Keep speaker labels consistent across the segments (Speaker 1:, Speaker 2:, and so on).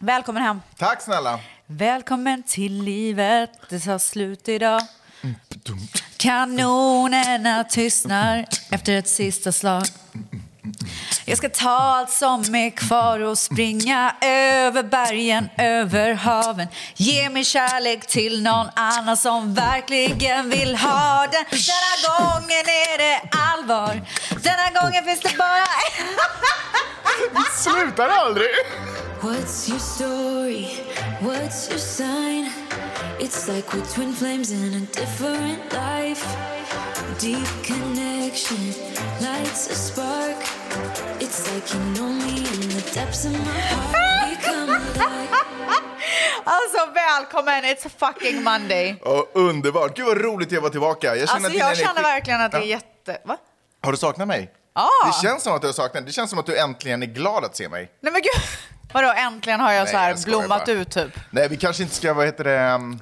Speaker 1: Välkommen hem.
Speaker 2: Tack snälla.
Speaker 1: Välkommen till livet, det tar slut idag. Kanonerna tystnar efter ett sista slag. Jag ska ta allt som är kvar och springa över bergen, över haven. Ge mig kärlek till någon annan som verkligen vill ha den. Denna gången är det allvar. Denna gången finns det bara
Speaker 2: Slutar aldrig.
Speaker 3: What's your story? What's your sign? It's like we're twin flames in a different life. Deep connection lights a spark. It's like you know me in the depths of my heart. We come alive.
Speaker 1: Alltså välkommen, it's a fucking Monday.
Speaker 2: Ja, underbart. Gud vad roligt det var tillbaka. Jag
Speaker 1: Alltså
Speaker 2: din
Speaker 1: jag känner
Speaker 2: energi-
Speaker 1: verkligen att det är
Speaker 2: Ja.
Speaker 1: jätte... Va?
Speaker 2: Har du saknat mig?
Speaker 1: Ja.
Speaker 2: Det känns som att du har saknat Det känns som att du äntligen är glad att se mig.
Speaker 1: Nej men gud. Vadå äntligen har jag
Speaker 2: Nej,
Speaker 1: så här
Speaker 2: jag skojar
Speaker 1: blommat
Speaker 2: bara.
Speaker 1: ut typ.
Speaker 2: Nej, vi kanske inte ska, vad heter det, ehm,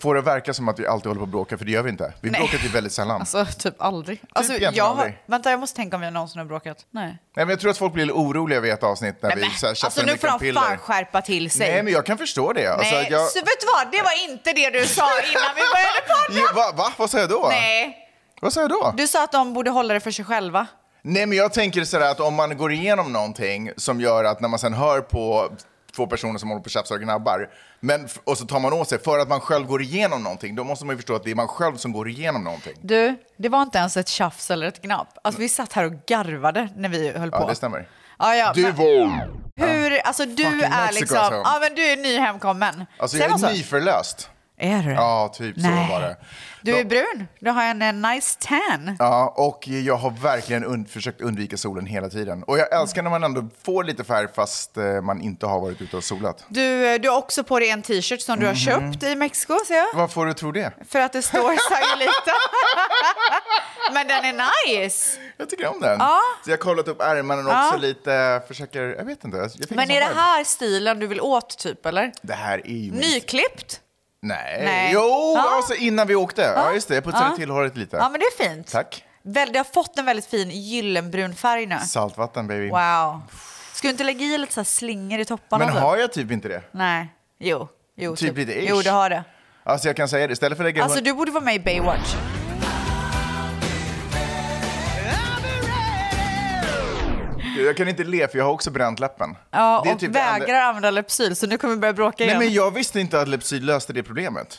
Speaker 2: få det att verka som att vi alltid håller på och bråkar, för det gör vi inte. Vi
Speaker 1: Nej.
Speaker 2: bråkar typ väldigt sällan.
Speaker 1: Alltså typ aldrig. Alltså,
Speaker 2: egentligen
Speaker 1: jag har,
Speaker 2: aldrig.
Speaker 1: vänta jag måste tänka om jag någonsin har bråkat. Nej.
Speaker 2: Nej, men jag tror att folk blir lite oroliga vid ett avsnitt när vi
Speaker 1: Men,
Speaker 2: så här,
Speaker 1: alltså
Speaker 2: tjafsar
Speaker 1: nu
Speaker 2: med
Speaker 1: får de fan
Speaker 2: piller.
Speaker 1: skärpa till sig.
Speaker 2: Nej, men jag kan förstå det. Alltså,
Speaker 1: Nej,
Speaker 2: jag...
Speaker 1: så vet du vad? Det var inte det du sa innan vi började podda.
Speaker 2: Ja, va, va? Vad sa jag då?
Speaker 1: Nej,
Speaker 2: Vad sa jag då?
Speaker 1: du sa att de borde hålla det för sig själva.
Speaker 2: Nej, men jag tänker sådär att om man går igenom någonting som gör att när man sen hör på två personer som håller på och tjafsar och gnabbar, men, f- och så tar man åt sig för att man själv går igenom någonting, då måste man ju förstå att det är man själv som går igenom någonting.
Speaker 1: Du, det var inte ens ett tjafs eller ett gnapp. Alltså vi satt här och garvade när vi höll på.
Speaker 2: Ja, det stämmer.
Speaker 1: Ja, ja,
Speaker 2: Du
Speaker 1: men-
Speaker 2: var...
Speaker 1: Hur, alltså
Speaker 2: Fucking
Speaker 1: du är
Speaker 2: Mexico,
Speaker 1: liksom,
Speaker 2: alltså.
Speaker 1: ja men du är ny hemkommen.
Speaker 2: Alltså,
Speaker 1: Säger
Speaker 2: jag
Speaker 1: man så?
Speaker 2: är nyförlöst.
Speaker 1: Är du?
Speaker 2: Ja, typ
Speaker 1: Nej.
Speaker 2: så var det.
Speaker 1: Du
Speaker 2: Då-
Speaker 1: är brun, du har en eh, nice tan.
Speaker 2: Ja, och jag har verkligen und försökt undvika solen hela tiden. Och jag älskar när man ändå får lite färg fast eh, man inte har varit ute och solat.
Speaker 1: Du, eh, du har också på dig en t-shirt som du har
Speaker 2: Mhm.
Speaker 1: köpt i Mexiko ser jag.
Speaker 2: Vad får du tro det?
Speaker 1: För att det står Sayulita. men den är nice.
Speaker 2: Jag tycker om den. Så jag har kollat upp ärmarna och också lite, försöker, jag vet inte. Jag fick en
Speaker 1: Men
Speaker 2: sån
Speaker 1: är det
Speaker 2: vibe.
Speaker 1: här stilen du vill åt typ eller?
Speaker 2: Det här är ju min...
Speaker 1: Nyklippt?
Speaker 2: Nej.
Speaker 1: Nej.
Speaker 2: Jo,
Speaker 1: Ja.
Speaker 2: alltså innan vi åkte. Ja, just det. Jag putsade till håret lite.
Speaker 1: Ja men det är fint.
Speaker 2: Tack.
Speaker 1: Väl, det har fått en väldigt fin gyllenbrun färg nu.
Speaker 2: Saltvatten, baby.
Speaker 1: Wow. Ska du inte lägga i lite så här slingor i topparna?
Speaker 2: Men
Speaker 1: typ?
Speaker 2: har jag typ inte det?
Speaker 1: Nej. Jo. jo
Speaker 2: Typ lite ish.
Speaker 1: Jo, du har det.
Speaker 2: Alltså jag kan säga det, istället för att lägga
Speaker 1: Alltså
Speaker 2: hund-
Speaker 1: du borde vara med i Baywatch.
Speaker 2: Jag kan inte le för jag har också bränt läppen.
Speaker 1: Ja,
Speaker 2: Det är
Speaker 1: och
Speaker 2: typ det enda-
Speaker 1: vägrar använda Lypsyl, så nu kommer vi börja bråka
Speaker 2: Nej
Speaker 1: igen.
Speaker 2: men jag visste inte att Lypsyl löste det problemet.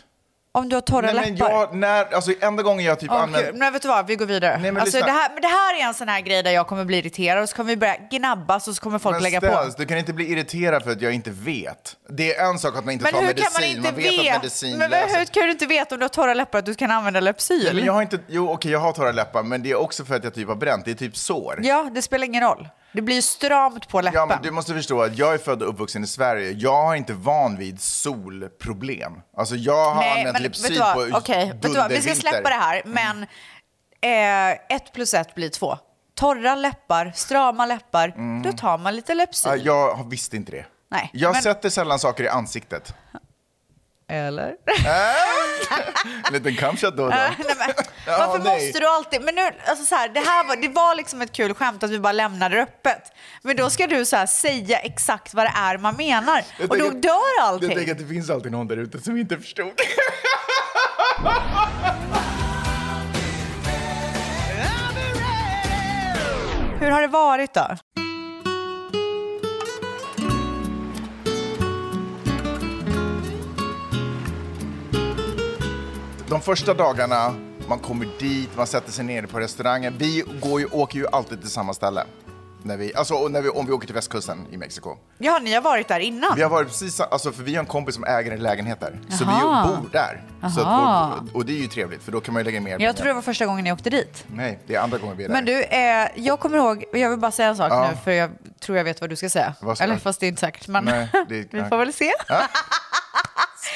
Speaker 1: Om du har torra
Speaker 2: Nej, men
Speaker 1: läppar.
Speaker 2: jag, när, alltså enda gången jag typ
Speaker 1: Åh,
Speaker 2: använt...
Speaker 1: gud. Men vet du vad, vi går vidare.
Speaker 2: Nej, men
Speaker 1: alltså,
Speaker 2: lyssna.
Speaker 1: det, här, men det här är en sån här grej där jag kommer bli irriterad och så kommer vi börja gnabbas och så kommer folk
Speaker 2: Men
Speaker 1: lägga
Speaker 2: Stelz,
Speaker 1: på.
Speaker 2: du kan inte bli irriterad för att jag inte vet. Det är en sak att man inte
Speaker 1: Men
Speaker 2: tar
Speaker 1: hur
Speaker 2: medicin,
Speaker 1: kan man inte
Speaker 2: vet att
Speaker 1: veta?
Speaker 2: medicin
Speaker 1: Men
Speaker 2: löser
Speaker 1: hur kan du inte veta om du har torra läppar att du kan använda Lypsyl?
Speaker 2: Men jag har inte, jo okej jag har torra läppar men det är också för att jag typ har bränt, det är typ sår.
Speaker 1: Ja, det spelar ingen roll. Det blir ju stramt på läppen.
Speaker 2: Ja men du måste förstå att jag är född och uppvuxen i Sverige, jag är inte van vid solproblem. Alltså jag har använt
Speaker 1: vet
Speaker 2: Lypsyl
Speaker 1: du vad?
Speaker 2: på
Speaker 1: Okej, vet du vad? Vi
Speaker 2: dundervinter.
Speaker 1: ska
Speaker 2: Mm.
Speaker 1: släppa det här, men eh, ett plus ett blir två. Torra läppar, strama läppar, då tar man lite Lypsyl.
Speaker 2: Mm. Ja, jag visste inte det.
Speaker 1: Nej,
Speaker 2: jag
Speaker 1: men-
Speaker 2: sätter sällan saker i ansiktet.
Speaker 1: Eller?
Speaker 2: En liten kamshot då och då.
Speaker 1: nej, men,
Speaker 2: Ja,
Speaker 1: varför
Speaker 2: nej.
Speaker 1: måste du alltid... Men nu, alltså så här, det, här var, det var liksom ett kul skämt att vi bara lämnade det öppet. Men då ska du så här, säga exakt vad det är man menar.
Speaker 2: Jag
Speaker 1: Och då
Speaker 2: tänker-
Speaker 1: dör
Speaker 2: Jag
Speaker 1: allting.
Speaker 2: tänker att det finns alltid någon där ute som inte förstod.
Speaker 1: Hur har det varit då?
Speaker 2: De första dagarna, man kommer dit, man sätter sig ner på restaurangen. Vi går ju, åker ju alltid till samma ställe. När vi, alltså och när vi, om vi åker till västkusten i Mexiko.
Speaker 1: Ja, ni har varit där innan.
Speaker 2: Vi har varit precis, sa- alltså för vi har en kompis som äger en lägenhet där. Så vi
Speaker 1: Jaha.
Speaker 2: bor där. Så
Speaker 1: Jaha.
Speaker 2: att vår, och det är ju trevligt för då kan man ju lägga mer pengar.
Speaker 1: Jag tror det var första gången ni åkte dit.
Speaker 2: Nej, det är andra gången vi är där.
Speaker 1: Men du, eh, jag kommer ihåg, jag vill bara säga en sak nu för jag tror jag vet vad du ska säga.
Speaker 2: Vad ska
Speaker 1: Eller
Speaker 2: jag-
Speaker 1: fast det är inte säkert, men
Speaker 2: Nej, det-
Speaker 1: vi får väl se.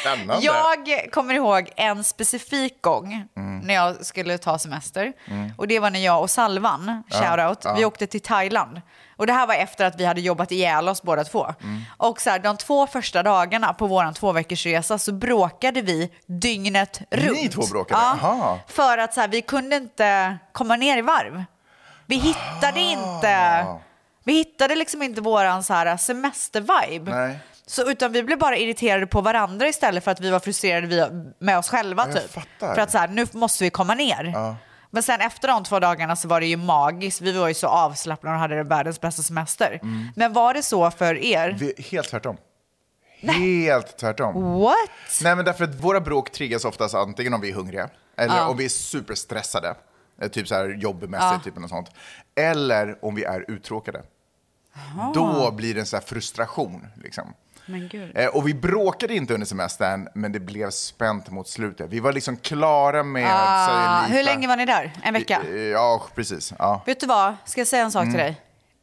Speaker 2: Spännande. Mm.
Speaker 1: Jag kommer ihåg en specifik gång när jag skulle ta semester. Och det var när jag och Salvan, shoutout, vi åkte till Thailand. Och det här var efter att vi hade jobbat ihjäl oss båda två.
Speaker 2: Mm.
Speaker 1: Och så här, de två första dagarna på vår tvåveckorsresa så bråkade vi dygnet runt.
Speaker 2: två bråkade? Aha.
Speaker 1: Ja, för att så här, vi kunde inte komma ner i varv. Vi
Speaker 2: Ah.
Speaker 1: hittade inte... Vi hittade liksom inte våran så här semestervibe.
Speaker 2: Nej.
Speaker 1: Så, utan vi blev bara irriterade på varandra istället för att vi var frustrerade vi, med oss själva.
Speaker 2: jag
Speaker 1: typ.
Speaker 2: fattar.
Speaker 1: För att så här, nu måste vi komma ner. Men sen efter de två dagarna så var det ju magiskt. Vi var ju så avslappnade och hade det världens bästa semester. Men var det så för er?
Speaker 2: Mm. Vi, helt tvärtom. Helt tvärtom.
Speaker 1: What?
Speaker 2: Nej, men därför att våra bråk triggas oftast antingen om vi är hungriga eller om vi är superstressade, eh, typ så här jobbmässigt, typ något sånt. Eller om vi är uttråkade. Då blir det en så här frustration. Liksom.
Speaker 1: Men gud.
Speaker 2: Eh, och vi bråkade inte under semestern, men det blev spänt mot slutet. Vi var liksom klara med... att så här,
Speaker 1: Ah,
Speaker 2: lita-
Speaker 1: hur länge var ni där? En vecka?
Speaker 2: Eh, Ja, precis. Ja.
Speaker 1: Vet du vad? Ska jag säga en sak till
Speaker 2: Mm.
Speaker 1: dig?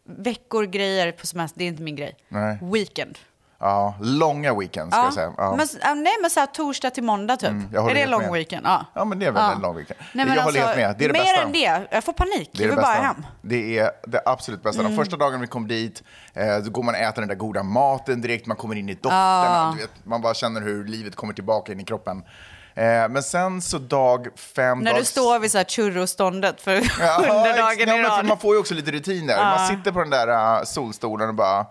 Speaker 1: Veckor, grejer på semester, det är inte min grej.
Speaker 2: Nej.
Speaker 1: Weekend.
Speaker 2: Ja, långa weekends ska jag säga. Ja. Mm,
Speaker 1: Men, ja, nej, men så här, torsdag till måndag typ.
Speaker 2: jag håller
Speaker 1: är det
Speaker 2: helt
Speaker 1: lång
Speaker 2: med.
Speaker 1: weekend? Ja.
Speaker 2: Ja, men det är väl en lång weekend.
Speaker 1: Nej, men
Speaker 2: Jag håller
Speaker 1: alltså,
Speaker 2: helt med. Det är det
Speaker 1: mer
Speaker 2: bästa.
Speaker 1: än det. Jag får panik.
Speaker 2: Det är
Speaker 1: jag
Speaker 2: det
Speaker 1: vill
Speaker 2: bästa.
Speaker 1: bara hem. Mm.
Speaker 2: Det är det absolut bästa. De första dagarna vi kom dit, eh, då går man och äter den där goda maten direkt, man kommer in i doften,
Speaker 1: Ah.
Speaker 2: och du vet, man bara känner hur livet kommer tillbaka in i kroppen. Eh, men sen så dag fem...
Speaker 1: När
Speaker 2: dag...
Speaker 1: du står vid så här churroståndet för
Speaker 2: Ja,
Speaker 1: sjunde
Speaker 2: ex-
Speaker 1: dagen
Speaker 2: nej,
Speaker 1: i
Speaker 2: men för
Speaker 1: rad. Ah.
Speaker 2: Man får ju också lite rutiner. Man sitter på den där eh, solstolen och bara,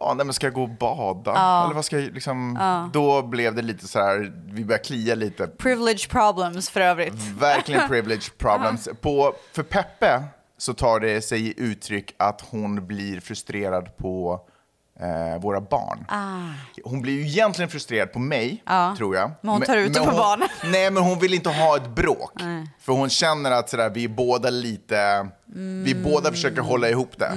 Speaker 2: ja, nej, men ska jag gå och bada?
Speaker 1: Ah.
Speaker 2: Eller vad ska jag, liksom... Då blev det lite så här, vi började klia lite
Speaker 1: Privilege problems för övrigt.
Speaker 2: Mm, Verkligen privilege problems. På, för Peppe så tar det sig i uttryck att hon blir frustrerad på eh, våra barn. Hon blir ju egentligen frustrerad på mig, tror jag.
Speaker 1: Ah. Men hon tar ut det på
Speaker 2: hon,
Speaker 1: barnen.
Speaker 2: Nej, men hon vill inte ha ett bråk. För hon känner att sådär, vi är båda lite...
Speaker 1: Mm.
Speaker 2: Vi båda försöker hålla ihop det.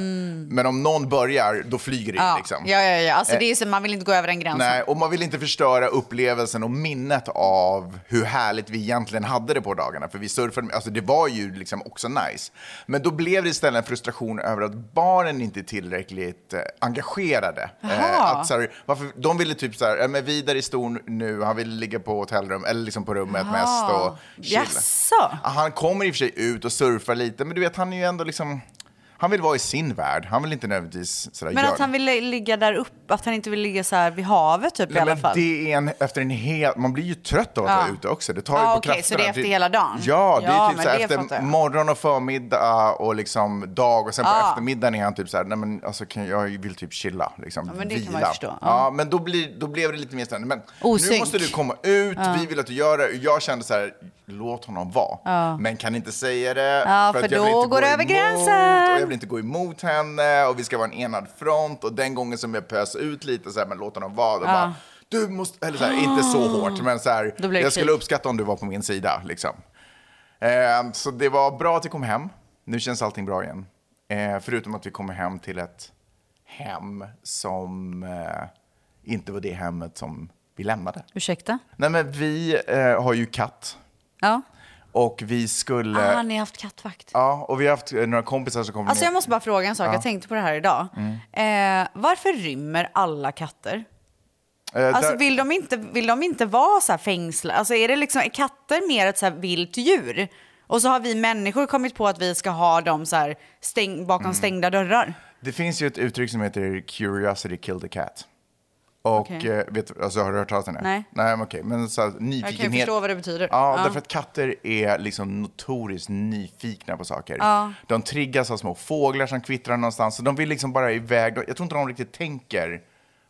Speaker 2: Men om någon börjar, då flyger det in,
Speaker 1: Ja.
Speaker 2: liksom.
Speaker 1: ja, ja, ja. Alltså,
Speaker 2: Eh,
Speaker 1: det är så, man vill inte gå över den gränsen.
Speaker 2: Nej, och man vill inte förstöra upplevelsen och minnet av hur härligt vi egentligen hade det på dagarna. För vi surfade, alltså det var ju liksom också nice. Men då blev det istället en frustration över att barnen inte är tillräckligt eh, engagerade. Eh, att, så här, varför, de ville typ så här, eh, men Vidar är stor nu, han vill ligga på hotellrum eller liksom på rummet mest och chilla.
Speaker 1: Jaså?
Speaker 2: Ja, Han kommer i och för sig ut och surfar lite, men du vet han är ju ändå liksom, han vill vara i sin värld. Han vill inte nödvändigtvis sådär
Speaker 1: Men
Speaker 2: göra
Speaker 1: att han ville ligga där uppe, att han inte ville ligga så här vid havet typ i
Speaker 2: Nej,
Speaker 1: alla
Speaker 2: men
Speaker 1: fall.
Speaker 2: det är en, efter en hel, man blir ju trött av att
Speaker 1: Ja.
Speaker 2: vara ute också. Det tar ju
Speaker 1: Ja,
Speaker 2: på
Speaker 1: okej, så
Speaker 2: krafterna.
Speaker 1: det är efter hela dagen?
Speaker 2: Ja, det
Speaker 1: Ja,
Speaker 2: är typ
Speaker 1: men
Speaker 2: så här
Speaker 1: det fattar
Speaker 2: efter
Speaker 1: jag.
Speaker 2: morgon och förmiddag och liksom dag och sen på
Speaker 1: Ja.
Speaker 2: eftermiddagen är han typ så här, nej men alltså kan jag, jag vill typ chilla, liksom
Speaker 1: men det
Speaker 2: vila.
Speaker 1: kan man ju förstå.
Speaker 2: Ja.
Speaker 1: Ja.
Speaker 2: men då, blir, då blev det lite mer störande. Men nu
Speaker 1: Osynk.
Speaker 2: måste du komma ut, vi vill att du gör det. Jag kände så här, låt honom vara. Men kan inte säga det.
Speaker 1: Ja, för
Speaker 2: att jag vill
Speaker 1: då
Speaker 2: inte
Speaker 1: går
Speaker 2: gå
Speaker 1: det över
Speaker 2: emot,
Speaker 1: gränsen.
Speaker 2: Och jag vill inte gå emot henne och vi ska vara en enad front. Och den gången som jag pös ut lite så här, men låt honom vara. Då bara, du måste, eller så här, inte så hårt, men så här,
Speaker 1: Ah. Då
Speaker 2: jag
Speaker 1: blir det
Speaker 2: skulle
Speaker 1: krig.
Speaker 2: uppskatta om du var på min sida liksom. Eh, så det var bra att vi kom hem. Nu känns allting bra igen. Eh, förutom att vi kommer hem till ett hem som eh, inte var det hemmet som vi lämnade.
Speaker 1: Ursäkta?
Speaker 2: Nej, men vi eh, har ju katt
Speaker 1: Ja.
Speaker 2: och vi skulle...
Speaker 1: Ah, ni har haft kattvakt.
Speaker 2: Ja, och vi har haft eh, några kompisar som kommer
Speaker 1: Alltså
Speaker 2: ner.
Speaker 1: jag måste bara fråga en sak, jag tänkte på det här idag.
Speaker 2: Mm.
Speaker 1: Eh, varför rymmer alla katter?
Speaker 2: Eh,
Speaker 1: Alltså
Speaker 2: där-
Speaker 1: vill de inte, vill de inte vara så här fängslade? Alltså är det liksom, är katter mer ett så här vilt djur? Och så har vi människor kommit på att vi ska ha dem så här stäng, bakom
Speaker 2: Mm.
Speaker 1: stängda dörrar.
Speaker 2: Det finns ju ett uttryck som heter “curiosity killed the cat”. Och
Speaker 1: Okej.
Speaker 2: eh, vet du- alltså, har du hört talas om det?
Speaker 1: Nej.
Speaker 2: Nej, men okej. Men så här, nyfikenhet.
Speaker 1: förstå vad det betyder.
Speaker 2: Ja,
Speaker 1: Ja.
Speaker 2: därför att katter är liksom notoriskt nyfikna på saker. De triggas av små fåglar som kvittrar någonstans. Så de vill liksom bara iväg. De- Jag tror inte de riktigt tänker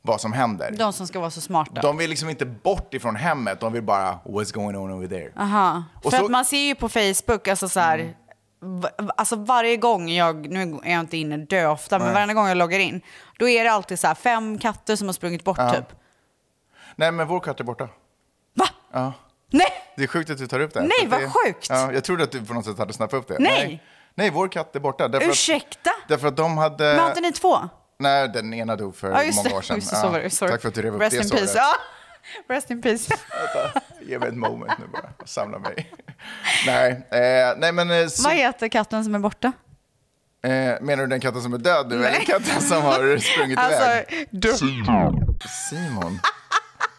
Speaker 2: vad som händer.
Speaker 1: De som ska vara så smarta.
Speaker 2: De vill liksom inte bort ifrån hemmet. De vill bara “What's going on over there?”
Speaker 1: Aha.
Speaker 2: Och
Speaker 1: För
Speaker 2: så- Mm.
Speaker 1: att man ser ju på Facebook, alltså så här, va- alltså varje gång jag, nu är jag inte inne dö ofta, men varje gång jag loggar in, då är det alltid så här fem katter som har sprungit bort
Speaker 2: Ja.
Speaker 1: typ.
Speaker 2: Nej, men vår katt är borta.
Speaker 1: Va?
Speaker 2: Ja.
Speaker 1: Nej!
Speaker 2: Det är sjukt att du tar upp det.
Speaker 1: Nej,
Speaker 2: För att
Speaker 1: vad
Speaker 2: det,
Speaker 1: sjukt!
Speaker 2: Ja, jag trodde att du på något sätt hade snappat upp det.
Speaker 1: Nej.
Speaker 2: Nej, Nej, vår katt är borta. Därför
Speaker 1: Ursäkta?
Speaker 2: Att, därför att de hade...
Speaker 1: Men har inte ni två?
Speaker 2: Nej, den ena dog för
Speaker 1: Ja just
Speaker 2: Eh, många år
Speaker 1: det,
Speaker 2: sedan.
Speaker 1: just det så
Speaker 2: Ja,
Speaker 1: var det. Sorry.
Speaker 2: Tack för att du rev upp
Speaker 1: Rest
Speaker 2: det
Speaker 1: in peace. Ja. Rest in peace.
Speaker 2: Ge mig ett moment nu bara och samla mig. nej, eh, nej, men... eh, Så,
Speaker 1: Vad heter katten som är borta?
Speaker 2: eh, menar du den katten som är död nu
Speaker 1: Nej.
Speaker 2: eller katten som har sprungit
Speaker 1: Alltså,
Speaker 2: iväg?
Speaker 1: du.
Speaker 2: Simon.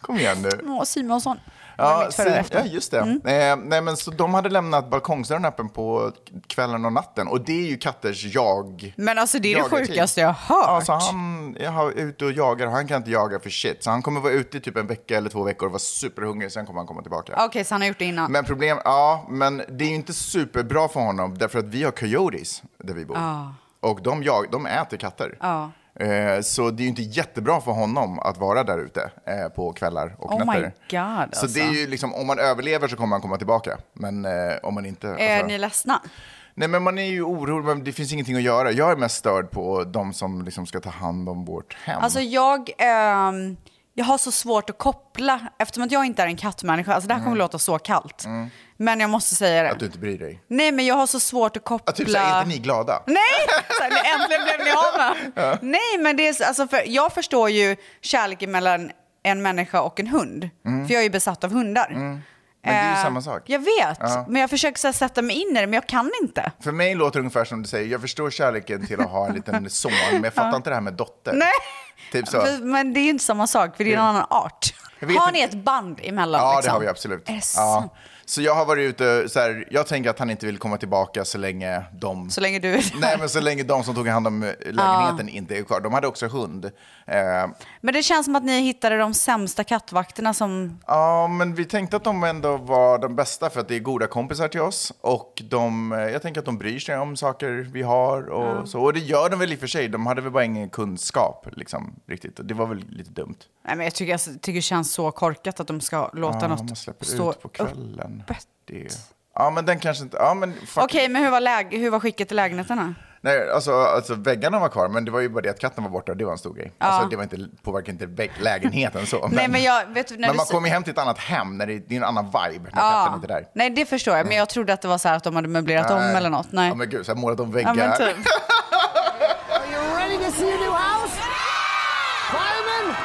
Speaker 2: Kom igen nu.
Speaker 1: Åh, Simonsson.
Speaker 2: Ja,
Speaker 1: mitt före och
Speaker 2: se-
Speaker 1: efter.
Speaker 2: ja, just det. Eh, nej, men så de hade lämnat balkongsdörren öppen på kvällen och natten. Och det är ju katters jag...
Speaker 1: Men alltså det är det
Speaker 2: jagartid.
Speaker 1: sjukaste jag har hört.
Speaker 2: Alltså han jag har- är ute och jagar och han kan inte jaga för shit. Så han kommer vara ute i typ en vecka eller två veckor och vara superhungrig. Sen kommer han komma tillbaka.
Speaker 1: Okej, så han har gjort det innan.
Speaker 2: Men problem, ja, men det är ju inte superbra för honom därför att vi har coyotes där vi bor. Och de, jag, de äter katter. Eh, Så det är ju inte jättebra för honom att vara där ute eh, på kvällar och
Speaker 1: Oh my
Speaker 2: nätter.
Speaker 1: God,
Speaker 2: Så
Speaker 1: alltså.
Speaker 2: det är ju liksom, om man överlever så kommer man komma tillbaka. Men eh, om man inte...
Speaker 1: Är
Speaker 2: alltså-
Speaker 1: ni ledsna?
Speaker 2: Nej men man är ju orolig, men det finns ingenting att göra. Jag är mest störd på de som liksom ska ta hand om vårt hem.
Speaker 1: Alltså jag, ehm, jag har så svårt att koppla eftersom att jag inte är en kattmänniska. Alltså det här kommer låta så kallt. Men jag måste säga det.
Speaker 2: Mm. att du inte bryr dig.
Speaker 1: Nej men jag har så svårt att koppla.
Speaker 2: Att typ såhär, är inte ni glada?
Speaker 1: Nej! Så här, nu äntligen blev ni av med. Nej, men det är, så- alltså, för jag förstår ju kärleken mellan en människa och en hund. För jag är ju besatt av hundar.
Speaker 2: Mm. Men det är ju
Speaker 1: Eh,
Speaker 2: samma sak.
Speaker 1: Jag vet,
Speaker 2: Ja.
Speaker 1: men jag försöker så här, sätta mig in i det, men jag kan inte.
Speaker 2: För mig låter det ungefär som du säger, jag förstår kärleken till att ha en liten son, men jag fattar inte det här med dotter.
Speaker 1: Nej.
Speaker 2: Typ så.
Speaker 1: För, men det är ju inte samma sak, för det är en
Speaker 2: Det-
Speaker 1: annan art.
Speaker 2: Jag vet
Speaker 1: Har
Speaker 2: inte.
Speaker 1: ni ett band emellan?
Speaker 2: Ja, det
Speaker 1: liksom?
Speaker 2: har vi absolut.
Speaker 1: Är det sant?
Speaker 2: ja. Så jag har varit ute, så här, jag tänker att han inte vill komma tillbaka så länge de...
Speaker 1: Så länge du är
Speaker 2: Nej, men så länge de som tog hand om eh, lägenheten inte är kvar. De hade också hund. Eh,
Speaker 1: Men det känns som att ni hittade de sämsta kattvakterna som...
Speaker 2: Ja, men vi tänkte att de ändå var de bästa för att det är goda kompisar till oss. Och de, eh, jag tänker att de bryr sig om saker vi har och så. Och det gör de väl i och för sig. De hade väl bara ingen kunskap liksom, riktigt. Och det var väl lite dumt.
Speaker 1: Nej, men jag tycker, alltså, jag tycker det känns så korkat att de ska låta
Speaker 2: Ja, man
Speaker 1: något
Speaker 2: släpper
Speaker 1: stå
Speaker 2: ut på kvällen.
Speaker 1: öppet.
Speaker 2: Det... Ja, men den kanske inte... Ja, men fuck.
Speaker 1: Okej, men hur var, läge, hur var skicket i lägenheterna?
Speaker 2: Nej, alltså, alltså väggarna var kvar, men det var ju bara det att katten var borta och det var en stor grej. Alltså, det var inte, påverkade inte vägg, lägenheten så.
Speaker 1: Nej, men jag... Vet, du, när
Speaker 2: men
Speaker 1: du,
Speaker 2: man
Speaker 1: sa-
Speaker 2: kommer ju hem till ett annat hem, när det, det är en annan vibe när
Speaker 1: Ja.
Speaker 2: katten inte är där.
Speaker 1: Nej, det förstår jag. Men jag trodde att det var så här att de hade möblerat om
Speaker 2: Nej.
Speaker 1: eller något. Nej.
Speaker 2: Ja, men gud, så här, målat om
Speaker 1: Ja,
Speaker 2: väggar.
Speaker 1: men typ.
Speaker 4: Are you ready to see your new house? Fireman,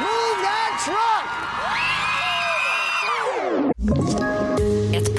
Speaker 4: move that truck!
Speaker 5: Ett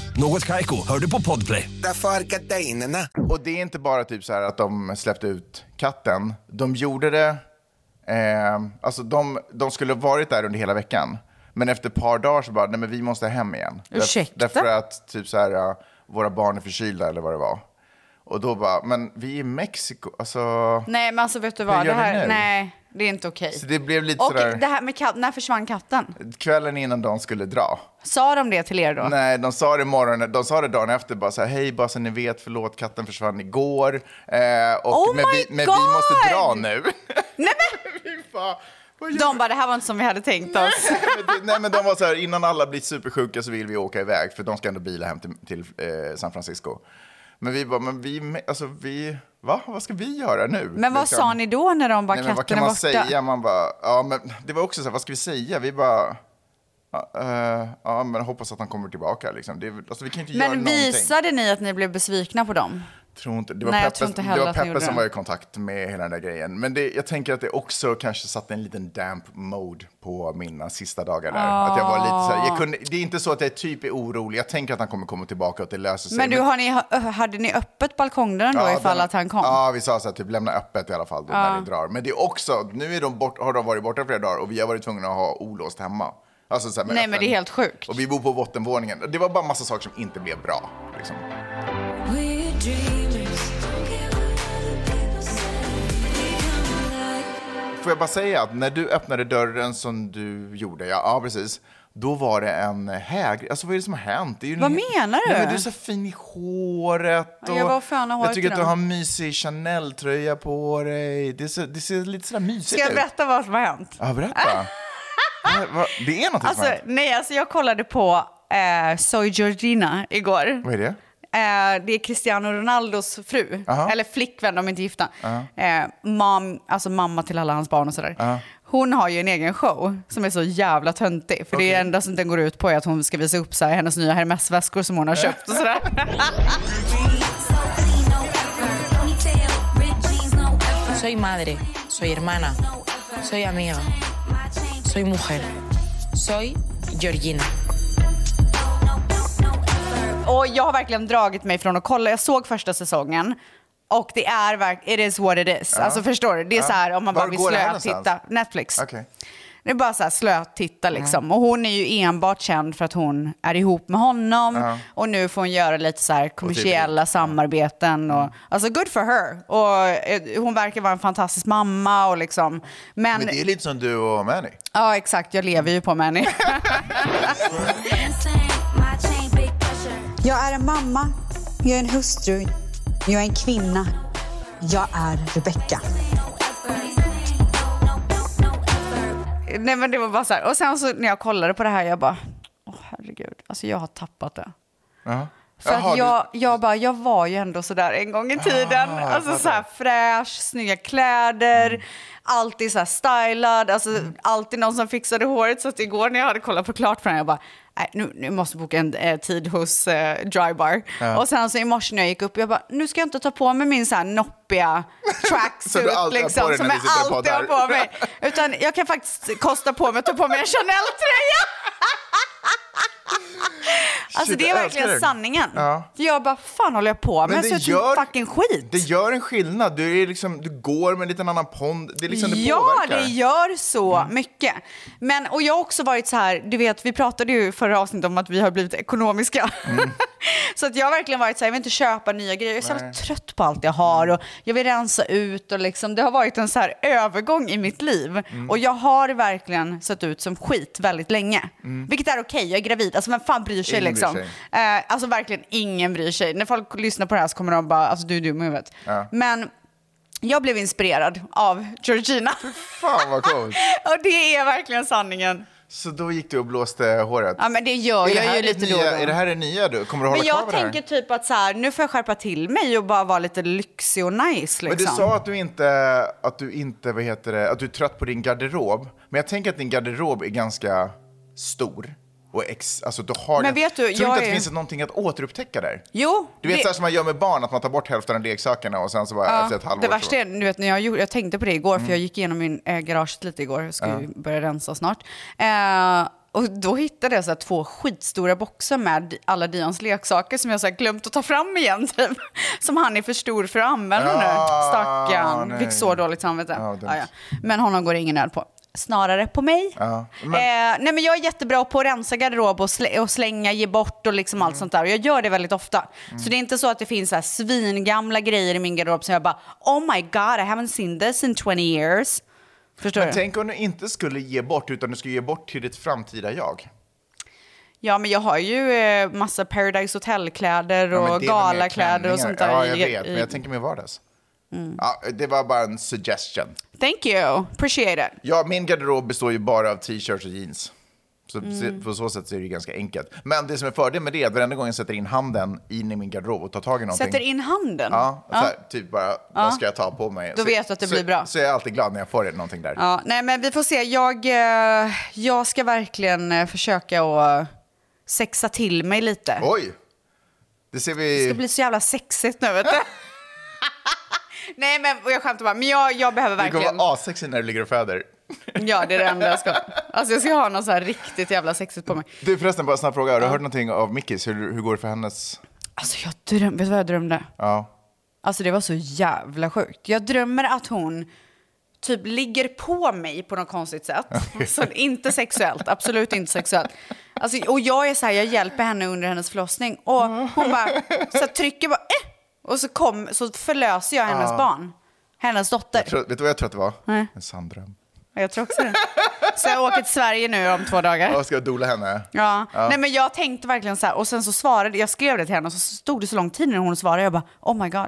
Speaker 6: Något Kaiko, hör du på Podplay.
Speaker 7: Därför är gardinerna.
Speaker 2: Och det är inte bara typ så här att de släppte ut katten. De gjorde det... Eh, alltså de, de skulle ha varit där under hela veckan. Men efter ett par dagar så bara, nej men vi måste hem igen. Därf-
Speaker 1: Ursäkta?
Speaker 2: Därför att typ så här, ja, våra barn är förkylda eller vad det var. Och då bara, men vi är i Mexiko, alltså...
Speaker 1: Nej, men alltså vet du
Speaker 2: Hur
Speaker 1: vad?
Speaker 2: gör
Speaker 1: Det
Speaker 2: vi nu?
Speaker 1: här, nej, det är inte okej.
Speaker 2: Så det blev lite
Speaker 1: Och
Speaker 2: sådär-
Speaker 1: det här med katt, när försvann katten?
Speaker 2: Kvällen innan de skulle dra.
Speaker 1: Sa de det till er då?
Speaker 2: Nej, de sa det morgonen, de sa det dagen efter bara så här, hej bara så ni vet, förlåt katten försvann igår. Eh, och,
Speaker 1: Oh
Speaker 2: men,
Speaker 1: my
Speaker 2: vi, men vi måste
Speaker 1: God!
Speaker 2: dra nu.
Speaker 1: Nej, men!
Speaker 2: Fy fan, vad gör
Speaker 1: De bara, det här var inte som vi hade tänkt oss.
Speaker 2: Men det- Nej men de var så här, innan alla blir supersjuka så vill vi åka iväg för de ska ändå bila hem till, till eh, San Francisco. Men vi bara, men vi, alltså vi, va? Vad ska vi göra nu?
Speaker 1: Men vad
Speaker 2: Liksom.
Speaker 1: sa ni då när de bara,
Speaker 2: Nej, men vad kan
Speaker 1: katten är
Speaker 2: man
Speaker 1: borta?
Speaker 2: säga? Man bara, ja men det var också så här, vad ska vi säga? Vi bara, ja, eh, ja men hoppas att han kommer tillbaka liksom. Det, är- alltså vi kan inte göra
Speaker 1: Men
Speaker 2: någonting.
Speaker 1: visade ni att ni blev besvikna på dem?
Speaker 2: Tror inte. Det var
Speaker 1: Nej, jag
Speaker 2: Peppe,
Speaker 1: tror inte
Speaker 2: det
Speaker 1: heller
Speaker 2: var
Speaker 1: att ni
Speaker 2: Peppe
Speaker 1: gjorde
Speaker 2: som
Speaker 1: det.
Speaker 2: var i kontakt med hela den där grejen. Men det, jag tänker att det också kanske satte en liten damp mode på mina sista dagar där. Att jag var lite så här, jag kunde, det är inte så att jag typ är orolig. Jag tänker att han kommer komma tillbaka och att det löser sig.
Speaker 1: Men du, har ni, hade ni öppet balkongdörren då
Speaker 2: Ja,
Speaker 1: ifall
Speaker 2: den-
Speaker 1: att han kom?
Speaker 2: Ja, vi sa så här, typ lämna öppet i alla fall då, när det drar. Men det är också, nu är de bort, har de varit borta flera dagar och vi har varit tvungna att ha olåst hemma. Alltså så här, med
Speaker 1: Nej,
Speaker 2: öppen-
Speaker 1: men det är helt sjukt.
Speaker 2: Och vi bor på bottenvåningen. Det var bara massa saker som inte blev bra. Liksom.
Speaker 8: We're dreamers. Don't care what other people say. We come alive.
Speaker 2: Får jag bara säga att när du öppnade dörren som du gjorde, ja, ja precis, då var det en häg... Alltså vad är det som har hänt? Det är ju en-
Speaker 1: Vad menar du?
Speaker 2: Nej, men du är så fin i håret.
Speaker 1: Ja, jag var fan i
Speaker 2: Jag
Speaker 1: håret
Speaker 2: tycker att du
Speaker 1: idag.
Speaker 2: har en mysig Chanel-tröja på dig. Det, ser- det ser lite sådär mysigt
Speaker 1: Ska jag
Speaker 2: ut.
Speaker 1: berätta vad som har hänt?
Speaker 2: Ja, berätta. Nej, va- det är någonting som
Speaker 1: Alltså,
Speaker 2: har hänt.
Speaker 1: nej, alltså jag kollade på eh, Soy Georgina igår.
Speaker 2: Vad är det?
Speaker 1: Eh, det är Cristiano Ronaldos fru,
Speaker 2: Aha.
Speaker 1: eller flickvän, de är inte gifta. Eh, mam, alltså mamma till alla hans barn och sådär. Hon har ju en egen show som är så jävla töntig. För det enda som den går ut på är att hon ska visa upp så här, hennes nya Hermes-väskor som hon har köpt och sådär.
Speaker 8: So clean, no effort. Ponytail, ripped jeans, no effort.
Speaker 9: Soy madre, soy hermana,
Speaker 8: No effort.
Speaker 9: soy amiga,
Speaker 8: My chain,
Speaker 9: soy mujer, soy Georgina.
Speaker 8: no, no, no effort.
Speaker 1: Och jag har verkligen dragit mig från att kolla. Jag såg första säsongen och det är verkligen, it is what it is. Alltså förstår du? Det är så här om man
Speaker 2: Var
Speaker 1: bara vill
Speaker 2: går det här
Speaker 1: slötitta.
Speaker 2: någonstans?
Speaker 1: Netflix.
Speaker 2: Okej. Mm.
Speaker 1: Det är bara så här slötitta liksom. Och hon är ju enbart känd för att hon är ihop med honom. Och nu får hon göra lite så här
Speaker 2: typ
Speaker 1: kommersiella samarbeten.
Speaker 2: Mm.
Speaker 1: Och, alltså good for her. Och eh, hon verkar vara en fantastisk mamma och liksom. Men,
Speaker 2: Men det är lite som du och Manny.
Speaker 1: ja exakt, jag lever ju på Manny.
Speaker 10: Jag är en mamma, jag är en hustru, jag är en kvinna. Jag är Rebecca.
Speaker 1: Nej men det var bara så här. Och sen så när jag kollade på det här, jag bara, åh herregud, alltså jag har tappat det. För
Speaker 2: Jaha,
Speaker 1: att
Speaker 2: du- Ah,
Speaker 1: jag, jag bara, jag var ju ändå sådär en gång i tiden. alltså så här fräsch, snygga kläder,
Speaker 2: Mm.
Speaker 1: alltid så här stylad, alltså alltid någon som fixade håret. Så att igår när jag hade kollat på klart på den, jag bara, nej nu, nu måste jag boka en eh, tid hos eh, Drybar. Och sen så i morse när jag gick upp, jag bara, nu ska jag inte ta på mig min så här noppiga
Speaker 2: Som du
Speaker 1: tracksuit
Speaker 2: alltid har på
Speaker 1: liksom,
Speaker 2: dig
Speaker 1: som
Speaker 2: när
Speaker 1: jag
Speaker 2: vi sitter och
Speaker 1: alltid har
Speaker 2: poddar.
Speaker 1: på mig. Utan jag kan faktiskt kosta på mig att ta på mig en Chanel-tröja. Alltså
Speaker 2: Shit,
Speaker 1: det är
Speaker 2: jag
Speaker 1: verkligen
Speaker 2: älskar det.
Speaker 1: sanningen.
Speaker 2: Ja.
Speaker 1: För jag bara, fan håller jag på med?
Speaker 2: Men
Speaker 1: Jag
Speaker 2: det
Speaker 1: ser ut
Speaker 2: gör-
Speaker 1: som fucking skit.
Speaker 2: Det gör en skillnad. Du, är liksom, du går med en liten annan pond. Det, är liksom, det
Speaker 1: ja,
Speaker 2: påverkar. Mm.
Speaker 1: det gör så mycket. Men, och jag har också varit så här, du vet, vi pratade ju i förra avsnittet om att vi har blivit ekonomiska.
Speaker 2: Mm.
Speaker 1: så att jag har verkligen varit så här, jag vill inte köpa nya grejer. Jag är så jävla trött på allt jag har och jag vill rensa ut och liksom, det har varit en så här övergång i mitt liv.
Speaker 2: Mm.
Speaker 1: Och jag har verkligen sett ut som skit väldigt länge. Vilket är okej, jag är gravid. Alltså vem fan bryr sig
Speaker 2: Mm. Ingen bryr
Speaker 1: liksom?
Speaker 2: sig.
Speaker 1: Eh, alltså verkligen ingen bryr sig. När folk lyssnar på det här så kommer de bara, alltså du är dum i huvudet. Men jag blev inspirerad av Georgina.
Speaker 2: Fan vad coolt.
Speaker 1: och det är verkligen sanningen.
Speaker 2: Så då gick du och blåste håret.
Speaker 1: Ja men det gör
Speaker 2: är, det
Speaker 1: jag
Speaker 2: här
Speaker 1: ju
Speaker 2: det
Speaker 1: lite
Speaker 2: nya,
Speaker 1: då och då.
Speaker 2: är det här det nya du? Kommer du hålla
Speaker 1: men
Speaker 2: kvar
Speaker 1: jag
Speaker 2: vid det här?
Speaker 1: tänker typ att så här, nu får jag skärpa till mig och bara vara lite lyxig och nice
Speaker 2: Men du
Speaker 1: liksom.
Speaker 2: sa att du inte, att du inte, vad heter det, att du är trött på din garderob. Men jag tänker att din garderob är ganska stor. Och ex, alltså du har
Speaker 1: Men
Speaker 2: den-
Speaker 1: vet du,
Speaker 2: tror du
Speaker 1: jag
Speaker 2: inte att det
Speaker 1: är-
Speaker 2: finns någonting att återupptäcka där?
Speaker 1: Jo,
Speaker 2: Du vet
Speaker 1: det-
Speaker 2: så här som man gör med barn, att man tar bort hälften av leksakerna och sen så bara efter ett halvår.
Speaker 1: Det
Speaker 2: så- Mm.
Speaker 1: värsta är, du vet, när jag, gjorde, jag tänkte på det igår, för jag gick igenom min eh, garaget lite igår, jag ska ju börja rensa snart. Eh, och då hittade jag så här två skitstora boxar med alla Dions leksaker som jag så här glömt att ta fram igen, typ. Som han är för stor för att använda nu.
Speaker 2: Ah,
Speaker 1: Stackarn.
Speaker 2: nej.
Speaker 1: Fick så dåligt samvete.
Speaker 2: Ja, dumt.
Speaker 1: Ja, ja. Men honom går det ingen nöd på. Snarare på mig.
Speaker 2: Ja, men-
Speaker 1: Eh, nej, men jag är jättebra på att rensa garderob och, slä- och slänga, ge bort och liksom
Speaker 2: Mm.
Speaker 1: allt sånt där. Och jag gör det väldigt ofta. Så det är inte så att det finns så här svingamla grejer i min garderob som jag bara Oh my god, I haven't seen this in 20 years. Förstår du?
Speaker 2: Tänk om du inte skulle ge bort, utan du skulle ge bort till ditt framtida jag.
Speaker 1: Ja, men jag har ju eh, massa Paradise Hotel-kläder
Speaker 2: Ja, men
Speaker 1: och
Speaker 2: det är väl mer
Speaker 1: galakläder och
Speaker 2: klänningar.
Speaker 1: sånt där.
Speaker 2: Ja,
Speaker 1: i-
Speaker 2: jag vet, men
Speaker 1: i- Mm.
Speaker 2: jag tänker mer vardags. Ja, det var bara en suggestion.
Speaker 1: Thank you, appreciate it.
Speaker 2: Ja, min garderob består ju bara av t-shirts och jeans. Så
Speaker 1: Mm.
Speaker 2: se- på så sätt så är det ju ganska enkelt. Men det som är fördelen med det är att varenda gång jag sätter in handen in i min garderob och tar tag i någonting.
Speaker 1: Sätter in handen.
Speaker 2: Ja, så här, typ bara, vad ska jag ta på mig?
Speaker 1: Då
Speaker 2: så,
Speaker 1: vet du att det
Speaker 2: så,
Speaker 1: blir bra.
Speaker 2: Så jag är alltid glad när jag får någonting där.
Speaker 1: Ja, nej men vi får se. Jag, eh, jag ska verkligen eh, försöka att sexa till mig lite.
Speaker 2: Oj! Det ser
Speaker 1: Det
Speaker 2: vi...
Speaker 1: ska bli så jävla sexigt nu vet du. nej men och jag skämtar bara, men jag, jag behöver
Speaker 2: Du kommer
Speaker 1: verkligen.
Speaker 2: vara assexig när du ligger och föder.
Speaker 1: Ja det är det enda jag ska. Alltså jag ska ha något så här riktigt jävla sexigt på mig.
Speaker 2: Du förresten, bara en snabb fråga. Har du hört någonting av Mickis? Hur, hur går det för hennes...
Speaker 1: Alltså jag drömde, vet du vad jag drömde?
Speaker 2: Ja.
Speaker 1: Alltså det var så jävla sjukt. Jag drömmer att hon typ ligger på mig på något konstigt sätt. Så inte sexuellt, absolut inte sexuellt. Alltså, och jag är så här, jag hjälper henne under hennes förlossning och hon bara så här, trycker bara eh! och så, kom, så förlöser jag hennes barn. Hennes dotter.
Speaker 2: Jag tror, vet du vad jag tror att det var? Nej. En sanddröm.
Speaker 1: Jag tror också det. Så jag åker till Sverige nu om två dagar.
Speaker 2: Jag ska jag dola henne?
Speaker 1: Ja. Nej, men jag tänkte verkligen så här, och sen så svarade, jag skrev det till henne och så stod det så lång tid innan hon svarade. Jag bara, oh my god,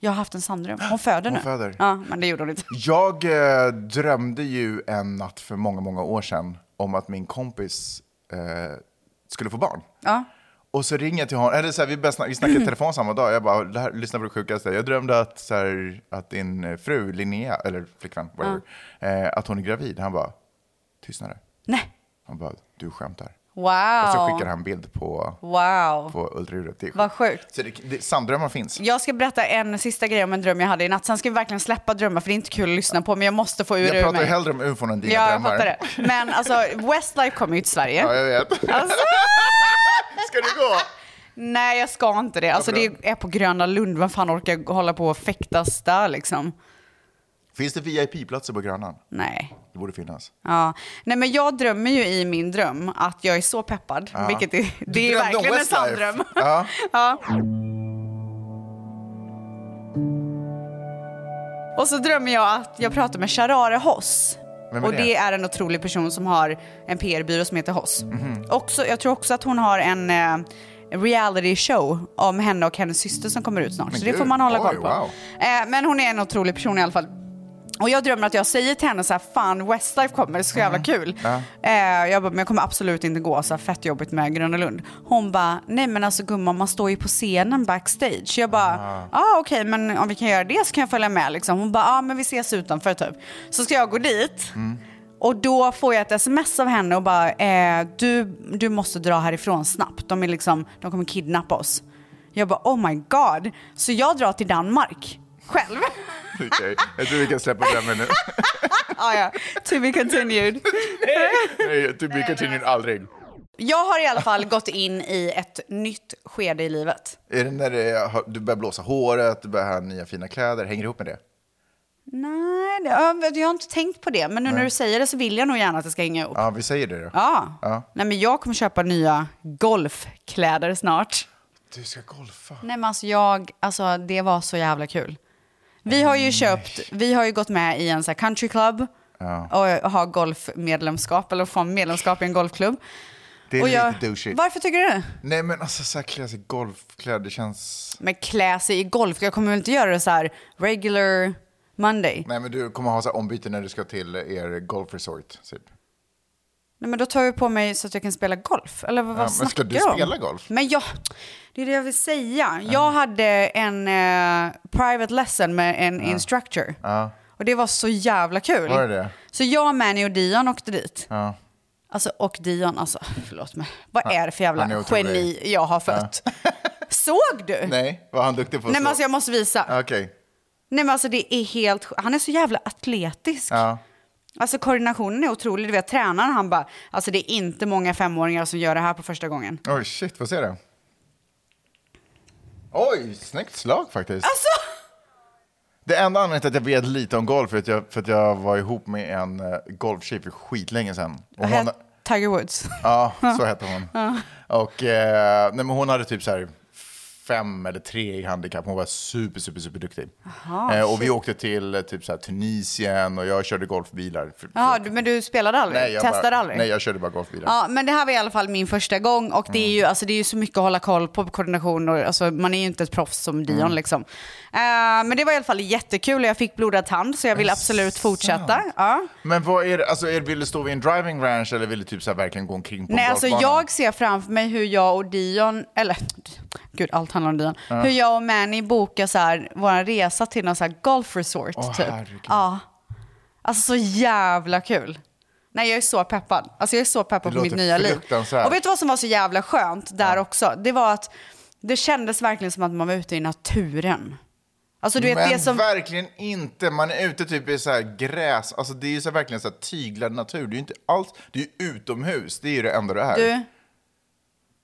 Speaker 1: jag har haft en sanddröm. Hon föder nu.
Speaker 2: föder.
Speaker 1: Ja, men det gjorde hon inte.
Speaker 2: Jag eh, drömde ju en natt för många, många år sedan om att min kompis eh, skulle få barn.
Speaker 1: Ja.
Speaker 2: Och så ringer jag till honom, eller så här, vi, började snack- vi snackade i telefon samma dag, jag bara, det här, lyssna på det sjukaste. Jag drömde att, så här, att din fru Linnea, eller flickvän, whatever, eh, att hon är gravid. Han bara, tystnade.
Speaker 1: Nej.
Speaker 2: Han bara, du skämtar.
Speaker 1: Wow.
Speaker 2: Och så skickar han bild på,
Speaker 1: Wow.
Speaker 2: på ultraljudet. Det är
Speaker 1: Vad sjukt.
Speaker 2: Så det, det, sanddrömmar finns.
Speaker 1: Jag ska berätta en sista grej om en dröm jag hade i natt. Sen ska vi verkligen släppa drömmar för det är inte kul att lyssna på men jag måste få ur
Speaker 2: Jag
Speaker 1: ur
Speaker 2: pratar ju
Speaker 1: mig.
Speaker 2: hellre om ufon än dina
Speaker 1: Ja, jag
Speaker 2: drömmar.
Speaker 1: fattar det. Men alltså Westlife kommer ju till Sverige.
Speaker 2: Ja, jag vet.
Speaker 1: Alltså,
Speaker 2: Ska du gå?
Speaker 1: nej, jag ska inte det. Alltså
Speaker 2: bra.
Speaker 1: det är på Gröna Lund. Vem fan orkar hålla på och fäktas där liksom?
Speaker 2: Finns det VIP-platser på Grönan?
Speaker 1: Nej.
Speaker 2: Det borde finnas.
Speaker 1: Ja. Nej, men jag drömmer ju i min dröm att jag är så peppad,
Speaker 2: Ja.
Speaker 1: vilket är,
Speaker 2: Du
Speaker 1: det är
Speaker 2: drömde om
Speaker 1: verkligen en sann
Speaker 2: Westlife.
Speaker 1: dröm.
Speaker 2: Ja.
Speaker 1: Ja. Och så drömmer jag att jag pratar med Sharare Hoss.
Speaker 11: Vem är
Speaker 1: och
Speaker 11: det?
Speaker 1: det är en otrolig person som har en PR-byrå som heter Hoss.
Speaker 11: Mhm.
Speaker 1: Också, jag tror också att hon har en eh, reality show om henne och hennes syster som kommer ut snart.
Speaker 11: Men
Speaker 1: så det
Speaker 11: gud.
Speaker 1: får man hålla
Speaker 11: Oj,
Speaker 1: koll på.
Speaker 11: wow.
Speaker 1: Eh, men hon är en otrolig person i alla fall. Och jag drömmer att jag säger till henne så här, fan Westlife kommer, det är så jävla kul. Eh, jag bara, men jag kommer absolut inte gå, så här, fett jobbigt med Gröna Lund. Hon bara, nej men alltså gumman man står ju på scenen backstage. Jag bara, ja ah, okej men om vi kan göra det så kan jag följa med liksom. Hon bara, ja ah, men vi ses utanför typ. Så ska jag gå dit. Och då får jag ett sms av henne och bara, eh, du, du måste dra härifrån snabbt. De, är liksom, de kommer kidnappa oss. Jag bara, oh my god. Så jag drar till Danmark. Själv.
Speaker 2: Okej, jag tror vi kan släppa den nu.
Speaker 1: ah, ja. To be continued.
Speaker 2: Nej, to be continued aldrig.
Speaker 1: Jag har i alla fall gått in i ett nytt skede i livet.
Speaker 2: Är det när det är, du börjar blåsa håret, du börjar ha nya fina kläder? Hänger det ihop med det?
Speaker 1: Nej, det- jag, jag har inte tänkt på det. Men nu när
Speaker 2: Nej.
Speaker 1: du säger det så vill jag nog gärna att det ska hänga ihop.
Speaker 2: Ja, vi säger det då.
Speaker 1: Ja.
Speaker 2: Ja.
Speaker 1: Nej, men jag kommer köpa nya golfkläder snart.
Speaker 2: Du ska golfa.
Speaker 1: Nej men alltså jag, alltså det var så jävla kul. Vi har ju köpt, vi har ju gått med i en så här country club
Speaker 2: Ja.
Speaker 1: och har golfmedlemskap eller får medlemskap i en golfklubb.
Speaker 2: Det är
Speaker 1: och
Speaker 2: lite
Speaker 1: jag,
Speaker 2: douchey.
Speaker 1: Varför tycker du det?
Speaker 2: Nej, men alltså så här klä sig i golfkläder, det känns...
Speaker 1: Men klä sig i golf, jag kommer väl inte göra det så här regular Monday.
Speaker 2: Nej, men du kommer ha så här ombyte när du ska till er golfresort. Typ.
Speaker 1: Nej men då tar jag på mig så att jag kan spela golf. Eller vad,
Speaker 2: Ja,
Speaker 1: vad
Speaker 2: men ska
Speaker 1: snackar
Speaker 2: du
Speaker 1: jag om?
Speaker 2: spela golf?
Speaker 1: Men jag, det är det jag vill säga. Jag hade en eh, private lesson med en instructor.
Speaker 2: Ja.
Speaker 1: Och det var så jävla kul.
Speaker 2: Var det det?
Speaker 1: Så jag, Manny och Dion åkte dit.
Speaker 2: Ja.
Speaker 1: Alltså, och Dion, alltså, förlåt mig. Vad
Speaker 2: Han-
Speaker 1: är det för
Speaker 2: han är
Speaker 1: jävla
Speaker 2: otrolig.
Speaker 1: geni jag har fött? Såg du?
Speaker 2: Nej, var han duktig på
Speaker 1: Nej, men
Speaker 2: så?
Speaker 1: alltså, jag måste visa.
Speaker 2: Okej.
Speaker 1: Nej men alltså det är helt Han är så jävla atletisk.
Speaker 2: Ja.
Speaker 1: Alltså koordinationen är otrolig. Du vet tränaren han bara, alltså det är inte många femåringar som gör det här på första gången.
Speaker 2: Oj, shit, vad ser du? Oj, snyggt slag faktiskt.
Speaker 1: Alltså!
Speaker 2: Det enda anledningen till att jag vet lite om golf är att jag, för att jag var ihop med en eh, golftjej för skitlänge sedan. Och hon,
Speaker 1: Tiger Woods.
Speaker 2: ja, så hette hon.
Speaker 1: Ja.
Speaker 2: Och, eh, nej, men hon hade typ så här fem eller tre i handikapp. Hon var super, super, super duktig.
Speaker 1: Jaha,
Speaker 2: eh, och vi
Speaker 1: shit.
Speaker 2: åkte till eh, typ så här, Tunisien och jag körde golfbilar. För,
Speaker 1: Jaha, du- men du spelade aldrig?
Speaker 2: jag
Speaker 1: Testade
Speaker 2: bara,
Speaker 1: aldrig?
Speaker 2: Nej, jag körde bara golfbilar.
Speaker 1: Ja, men det här var i alla fall min första gång och det är
Speaker 2: Mm.
Speaker 1: ju, alltså, det är ju så mycket att hålla koll på koordination och alltså, man är ju inte ett proffs som Dion
Speaker 11: Mm.
Speaker 1: liksom. Eh, men det var i alla fall jättekul och jag fick blodad tand så jag vill absolut fortsätta. Ja.
Speaker 2: Men vad är det, alltså, är, vill du stå vid en driving range eller vill du typ så här, verkligen gå omkring på en
Speaker 1: Nej, alltså
Speaker 2: golfbana?
Speaker 1: jag ser framför mig hur jag och Dion, eller gud allt handlar om Dion,
Speaker 2: Ja.
Speaker 1: hur jag och Manny bokar så här, vår resa till någon så här golfresort
Speaker 11: Åh,
Speaker 1: typ.
Speaker 11: herregud.
Speaker 1: Ja. Alltså så jävla kul. Nej jag är så peppad. Alltså jag är så peppad
Speaker 11: Det
Speaker 1: på mitt
Speaker 11: låter
Speaker 1: nya liv.
Speaker 11: fruktansvärt.
Speaker 1: Och vet du vad som var så jävla skönt där också? Det var att det kändes verkligen som att man var ute i naturen. Alltså du vet
Speaker 2: men
Speaker 1: det som...
Speaker 2: verkligen inte. Man är ute typ i så här gräs. Alltså det är ju så här verkligen så här tyglad natur. Det är ju inte alls, det är ju utomhus. Det är ju det enda det är.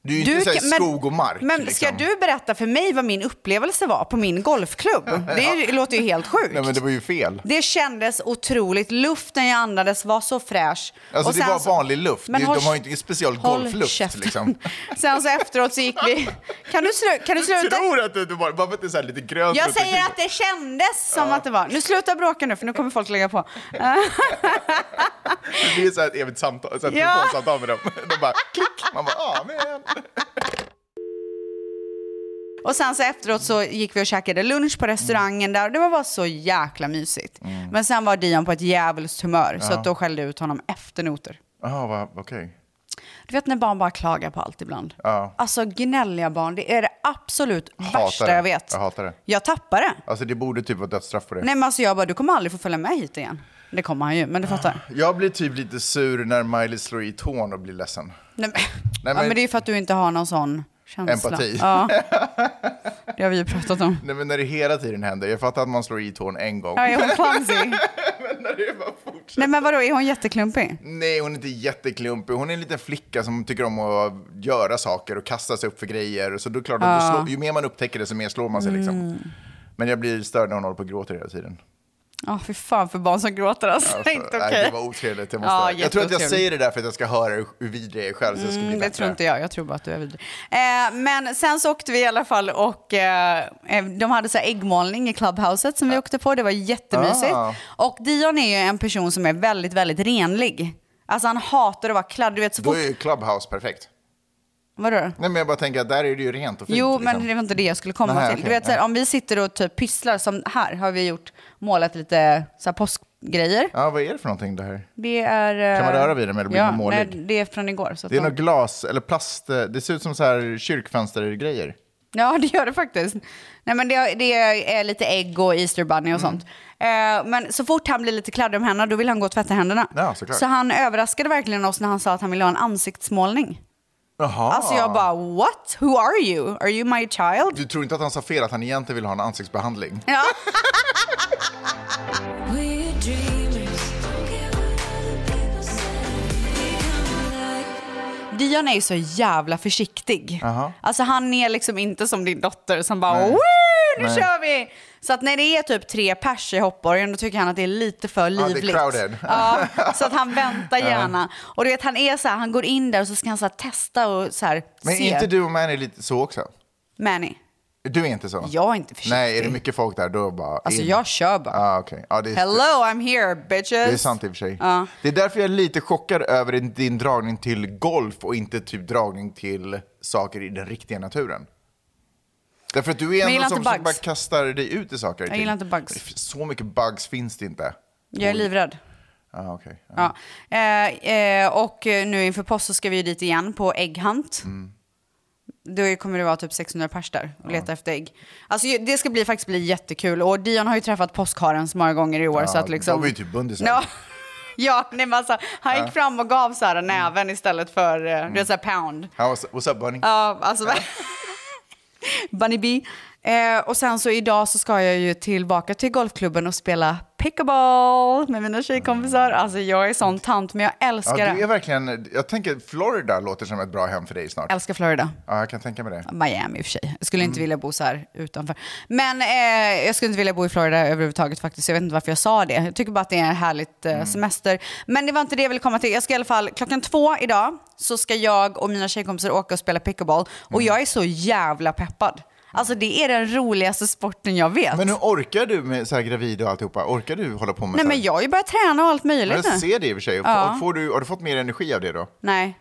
Speaker 1: Du,
Speaker 2: det är ju inte så här
Speaker 1: kan- men-
Speaker 2: skog och mark.
Speaker 1: Men ska
Speaker 2: liksom.
Speaker 1: du berätta för mig vad min upplevelse var på min golfklubb? Det är, ju- låter ju helt sjukt.
Speaker 2: Nej men det var ju fel.
Speaker 1: Det kändes otroligt. Luften jag andades var så fräsch.
Speaker 2: Alltså
Speaker 1: Och
Speaker 2: det
Speaker 1: sen
Speaker 2: var
Speaker 1: så-
Speaker 2: vanlig luft.
Speaker 1: Men
Speaker 2: det,
Speaker 1: håll-
Speaker 2: de har ju inte special
Speaker 1: håll
Speaker 2: golfluft
Speaker 1: käften.
Speaker 2: liksom.
Speaker 1: Sen så efteråt så gick vi... Kan du, slu... kan du sluta?
Speaker 2: Tror att det det var bara för att det är så här lite grönt.
Speaker 1: Jag
Speaker 2: runt omkring.
Speaker 1: säger att det kändes som att det var. Nu sluta bråka nu för nu kommer folk lägga på. Eh,
Speaker 2: Det blir så här ett evigt samtal, så här
Speaker 1: Ja.
Speaker 2: telefonsamtal med dem. De bara klick. Man bara, ah, men.
Speaker 1: Och sen så efteråt så gick vi och käkade lunch på restaurangen där och det var bara så jäkla mysigt. Men sen var Dion på ett djävulskt humör så
Speaker 2: Mm. Ja.
Speaker 1: att då skällde jag ut honom efter noter.
Speaker 2: Jaha, va- okej.
Speaker 1: Du vet när barn bara klagar på allt ibland.
Speaker 2: Ja.
Speaker 1: Alltså gnälliga barn, det är det absolut
Speaker 2: Hatar
Speaker 1: värsta
Speaker 2: det.
Speaker 1: jag vet.
Speaker 2: Jag hatar det.
Speaker 1: Jag tappar det.
Speaker 2: Alltså det borde typ vara dödsstraff för det.
Speaker 1: Nej men alltså jag bara, du kommer aldrig få följa med hit igen. Det kommer han ju, men du fattar.
Speaker 2: Jag blir typ lite sur när Miley slår i tån och blir ledsen.
Speaker 1: Nej, men,
Speaker 2: Nej,
Speaker 1: Ja, men det är ju för att du inte har någon sån känsla.
Speaker 2: Empati.
Speaker 1: Ja. Det har vi ju pratat om.
Speaker 2: Nej, men när det hela tiden händer. Jag fattar att man slår i tån en gång.
Speaker 1: Ja, är hon clumsy? Nej men vadå, är hon jätteklumpig?
Speaker 2: Nej, hon är inte jätteklumpig. Hon är en liten flicka som tycker om att göra saker och kasta sig upp för grejer. Så då är det klart, att
Speaker 1: Ja. Mm.
Speaker 2: då slår, ju mer man upptäcker det, så mer slår man sig. Liksom. Men jag blir störd när hon håller på och gråter hela tiden.
Speaker 1: Ja, fy fan för barn som gråter alltså.
Speaker 2: Alltså,
Speaker 1: inte okej.
Speaker 2: nej, Det var otrevligt. Jag, måste...
Speaker 1: Ja,
Speaker 2: jag tror att jag
Speaker 1: jätteotrevligt.
Speaker 2: säger det där för att jag ska höra hur hur vidrig jag är själv. Så jag ska bli
Speaker 1: Mm, det
Speaker 2: bättre.
Speaker 1: tror inte jag. Jag tror bara att du är vidrig. Eh, men sen så åkte vi i alla fall och eh, eh, de hade så här äggmålning i clubhouset som vi åkte på. Det var jättemysigt.
Speaker 11: Ah.
Speaker 1: Och Dion är ju en person som är väldigt, väldigt renlig. Alltså han hatar att vara kladdig. Du vet så
Speaker 2: Då
Speaker 1: fort...
Speaker 2: är ju Clubhouse perfekt.
Speaker 1: Vadå?
Speaker 2: Nej, men jag bara tänker att där är det ju rent och fint.
Speaker 1: Jo,
Speaker 2: liksom.
Speaker 1: men det var inte det jag skulle komma
Speaker 2: Nej,
Speaker 1: till.
Speaker 2: okej,
Speaker 1: du vet, så här,
Speaker 2: nej.
Speaker 1: om vi sitter och typ pysslar, som här har vi gjort, målat lite så här, påskgrejer.
Speaker 2: Ja, vad är det för någonting det här?
Speaker 1: Det är... eh,
Speaker 2: Kan man röra vid dem eller blir
Speaker 1: ja,
Speaker 2: den målig?
Speaker 1: Nej, det är från igår. Så
Speaker 2: Det är
Speaker 1: att-
Speaker 2: något glas eller plast. eh, Det ser ut som så här kyrkfönstergrejer.
Speaker 1: Ja, det gör det faktiskt. Nej, men det, det är lite ägg och Easter bunny
Speaker 2: Mm.
Speaker 1: och sånt. Eh, men så fort han blir lite kladdig om händerna, då vill han gå och tvätta händerna.
Speaker 2: Ja, såklart.
Speaker 1: så han överraskade verkligen oss när han sa att han ville ha en ansiktsmålning.
Speaker 2: Jaha.
Speaker 1: Alltså jag bara, what? Who are you? Are you my child?
Speaker 2: Du tror inte att han sa fel, att han egentligen vill ha en ansiktsbehandling?
Speaker 1: Ja.
Speaker 8: We're dreamers.
Speaker 1: Dion är ju så jävla försiktig. Alltså han är liksom inte som din dotter som bara,
Speaker 11: Nej.
Speaker 1: Woo, nu
Speaker 11: Nej.
Speaker 1: kör vi! Så att när det är typ tre pers i hoppborgen, då tycker han att det är lite för
Speaker 11: Ja, det är
Speaker 1: livligt.
Speaker 11: crowded.
Speaker 1: Ja, så att han väntar
Speaker 2: Ja.
Speaker 1: gärna. Och du vet, han är så här, han går in där och så ska han så här testa och så här
Speaker 2: Men
Speaker 1: se.
Speaker 2: inte du och Manny lite så också?
Speaker 1: Manny.
Speaker 2: Du är inte så?
Speaker 1: Jag är inte försiktig.
Speaker 2: Nej, är det mycket folk där då bara...
Speaker 1: Alltså, jag kör bara.
Speaker 2: Ah, okay. ja, det är,
Speaker 1: Hello, I'm here bitches.
Speaker 2: Det är sant i och för sig.
Speaker 1: Ja.
Speaker 2: Det är därför jag är lite chockad över din- din dragning till golf och inte typ dragning till saker i den riktiga naturen. Därför att du är
Speaker 1: jag
Speaker 2: en
Speaker 1: gillar
Speaker 2: sån som
Speaker 1: inte
Speaker 2: bara
Speaker 1: bugs.
Speaker 2: kastar dig ut i saker. och
Speaker 1: Jag
Speaker 2: ting.
Speaker 1: gillar inte bugs.
Speaker 2: Det finns- Så mycket bugs finns det inte.
Speaker 1: Jag är livrädd.
Speaker 2: Ah, okej.
Speaker 1: Ja. Eh, eh, och eh, nu inför påsk så ska vi ju dit igen på ägghunt.
Speaker 2: Mm.
Speaker 1: Då kommer det vara typ 600 pers där och leta efter ägg. Alltså ju- det ska bli, faktiskt bli jättekul. Och Dion har ju träffat påskharen så många gånger i år
Speaker 2: Ja,
Speaker 1: så att liksom...
Speaker 2: De är ju typ bundisar.
Speaker 1: Ja. Ja, nej, men alltså, han gick
Speaker 2: Ja. Mm.
Speaker 1: fram och gav så här näven istället för, eh, du vet såhär pound.
Speaker 2: Ja, what's, what's up bunny?
Speaker 1: Ja, alltså. Bunny B. Eh, och sen så idag så ska jag ju tillbaka till golfklubben och spela pickleball med mina tjejkompisar. Alltså jag är sån tant, men jag älskar
Speaker 2: Mm. Ja, du
Speaker 1: det.
Speaker 2: är verkligen, jag tänker Florida låter som ett bra hem för dig snart.
Speaker 1: Älskar Florida.
Speaker 2: Ja, jag kan tänka mig det.
Speaker 1: Miami i och för sig. Jag skulle
Speaker 2: Mm.
Speaker 1: inte vilja bo så här utanför. Men eh, jag skulle inte vilja bo i Florida överhuvudtaget faktiskt. Jag vet inte varför jag sa det. Jag tycker bara att det är en härligt
Speaker 2: Mm.
Speaker 1: eh, semester. Men det var inte det jag ville komma till. Jag ska i alla fall, klockan två idag så ska jag och mina tjejkompisar åka och spela pickleball.
Speaker 2: Mm.
Speaker 1: Och jag är så jävla peppad. Alltså det är den roligaste sporten jag vet.
Speaker 2: Men hur orkar du med så här gravid och alltihopa? Orkar du hålla på med
Speaker 1: Nej
Speaker 2: så här?
Speaker 1: men jag har ju börjat träna och allt
Speaker 2: Men
Speaker 1: möjligt
Speaker 2: jag
Speaker 1: nu.
Speaker 2: ser det i och för sig.
Speaker 1: Ja.
Speaker 2: Och Får du, har du fått mer energi av det då?
Speaker 1: Nej,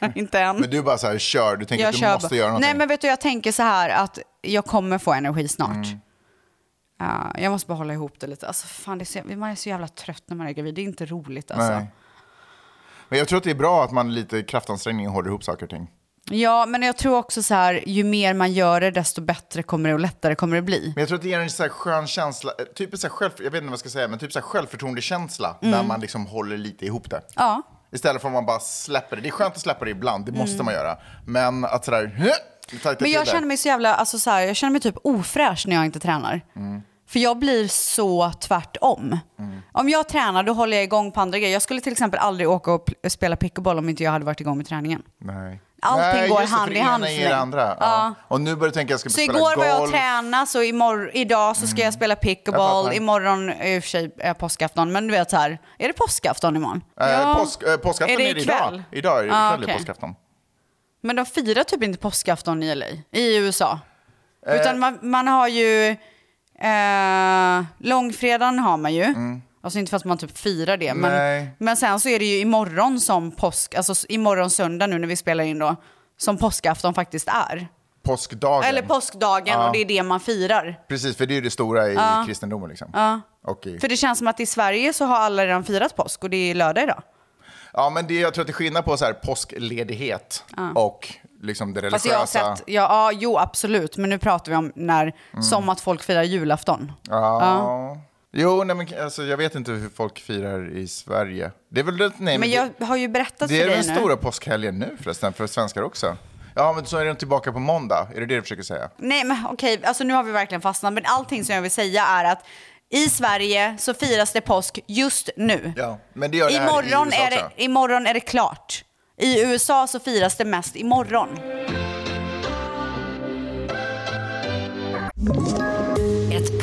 Speaker 2: Nej,
Speaker 1: inte än.
Speaker 2: Men du bara så här, kör, du tänker att du
Speaker 1: kör
Speaker 2: måste
Speaker 1: bara.
Speaker 2: göra någonting.
Speaker 1: Nej men vet du, jag tänker så här att jag kommer få energi snart.
Speaker 2: Mm.
Speaker 1: Ja, jag måste bara hålla ihop det lite. Alltså, fan, det är så, man är så jävla trött när man är gravid. Det är inte roligt alltså.
Speaker 2: Nej. Men jag tror att det är bra att man lite kraftansträngning håller ihop saker och ting.
Speaker 1: Ja, men jag tror också så här, ju mer man gör det, desto bättre kommer det och lättare kommer det bli.
Speaker 2: Men jag tror att det ger en så här skön känsla, eh, typ en så här själv, jag vet inte vad jag ska säga, men typ så här självförtroendekänsla
Speaker 1: Mm.
Speaker 2: när man liksom håller lite ihop det.
Speaker 1: Ja.
Speaker 2: Istället för att man bara släpper det. Det är skönt att släppa det ibland, det måste
Speaker 1: Mm.
Speaker 2: man göra. Men att sådär, tajta
Speaker 1: Men
Speaker 2: till
Speaker 1: jag
Speaker 2: det.
Speaker 1: känner mig så jävla, alltså så här, jag känner mig typ ofräsch när jag inte tränar.
Speaker 2: Mm.
Speaker 1: För jag blir så tvärtom. Om jag tränar då håller jag igång på andra grejer. Jag skulle till exempel aldrig åka och pl- spela pickleball om inte jag hade varit igång med träningen.
Speaker 2: Nej.
Speaker 1: Allting
Speaker 2: Nej,
Speaker 1: går
Speaker 2: just det,
Speaker 1: hand
Speaker 2: för
Speaker 1: i
Speaker 2: det ena
Speaker 1: hand för
Speaker 2: ger
Speaker 1: mig.
Speaker 2: det andra. Ja.
Speaker 1: Ja.
Speaker 2: Och nu börjar jag tänka att jag ska
Speaker 1: Så
Speaker 2: spela
Speaker 1: igår var jag och
Speaker 2: golf. Mm.
Speaker 1: tränade, så imorgon, idag så ska jag spela
Speaker 2: Jag
Speaker 1: pickleball.
Speaker 2: fattar.
Speaker 1: Imorgon är i och för sig eh, påskafton, men du vet så här, är det påskafton imorgon?
Speaker 2: Eh, påsk, eh, påskafton är det, idag. Idag är det
Speaker 1: Ah,
Speaker 2: ikväll är
Speaker 1: okej.
Speaker 2: påskafton.
Speaker 1: Men de firar typ inte påskafton i LA, i USA.
Speaker 2: Eh.
Speaker 1: Utan man, man har ju, eh, långfredagen har man ju. Alltså inte för att man typ firar det, men,
Speaker 2: Mm. Nej.
Speaker 1: men sen så är det ju imorgon som påsk, alltså s- imorgon söndag nu när vi spelar in då, som påskafton faktiskt är.
Speaker 2: Påskdagen.
Speaker 1: Eller påskdagen
Speaker 2: Ja.
Speaker 1: och det är det man firar.
Speaker 2: Precis, för det är ju det stora i
Speaker 1: Ja.
Speaker 2: kristendomen. Liksom.
Speaker 1: Ja.
Speaker 2: Och i...
Speaker 1: För det känns som att i Sverige så har alla redan firat påsk och det är lördag idag.
Speaker 2: Ja, men det, jag tror att det är skillnad på så här, påskledighet
Speaker 1: Ja.
Speaker 2: och liksom det
Speaker 1: Fast
Speaker 2: religiösa.
Speaker 1: jag har sett, ja, ja, jo absolut, men nu pratar vi om när, som att folk firar julafton.
Speaker 2: Mm. Ja.
Speaker 1: Ja.
Speaker 2: Jo, nej, men, alltså, jag vet inte hur folk firar i Sverige. Det är väl det, nej,
Speaker 1: men
Speaker 2: det-
Speaker 1: jag har ju
Speaker 2: Det
Speaker 1: berättat för
Speaker 2: är
Speaker 1: dig
Speaker 2: den
Speaker 1: nu.
Speaker 2: stora påskhelgen nu förresten, för svenskar också. Ja, men så är den tillbaka på måndag. Är det det du försöker säga?
Speaker 1: Nej men okej, alltså nu har vi verkligen fastnat, men allting som jag vill säga är att i Sverige så firas det påsk just nu.
Speaker 2: Ja, men det gör det här i
Speaker 1: imorgon
Speaker 2: USA
Speaker 1: är det,
Speaker 2: också.
Speaker 1: imorgon är det klart. I USA så firas det mest imorgon.
Speaker 5: Ett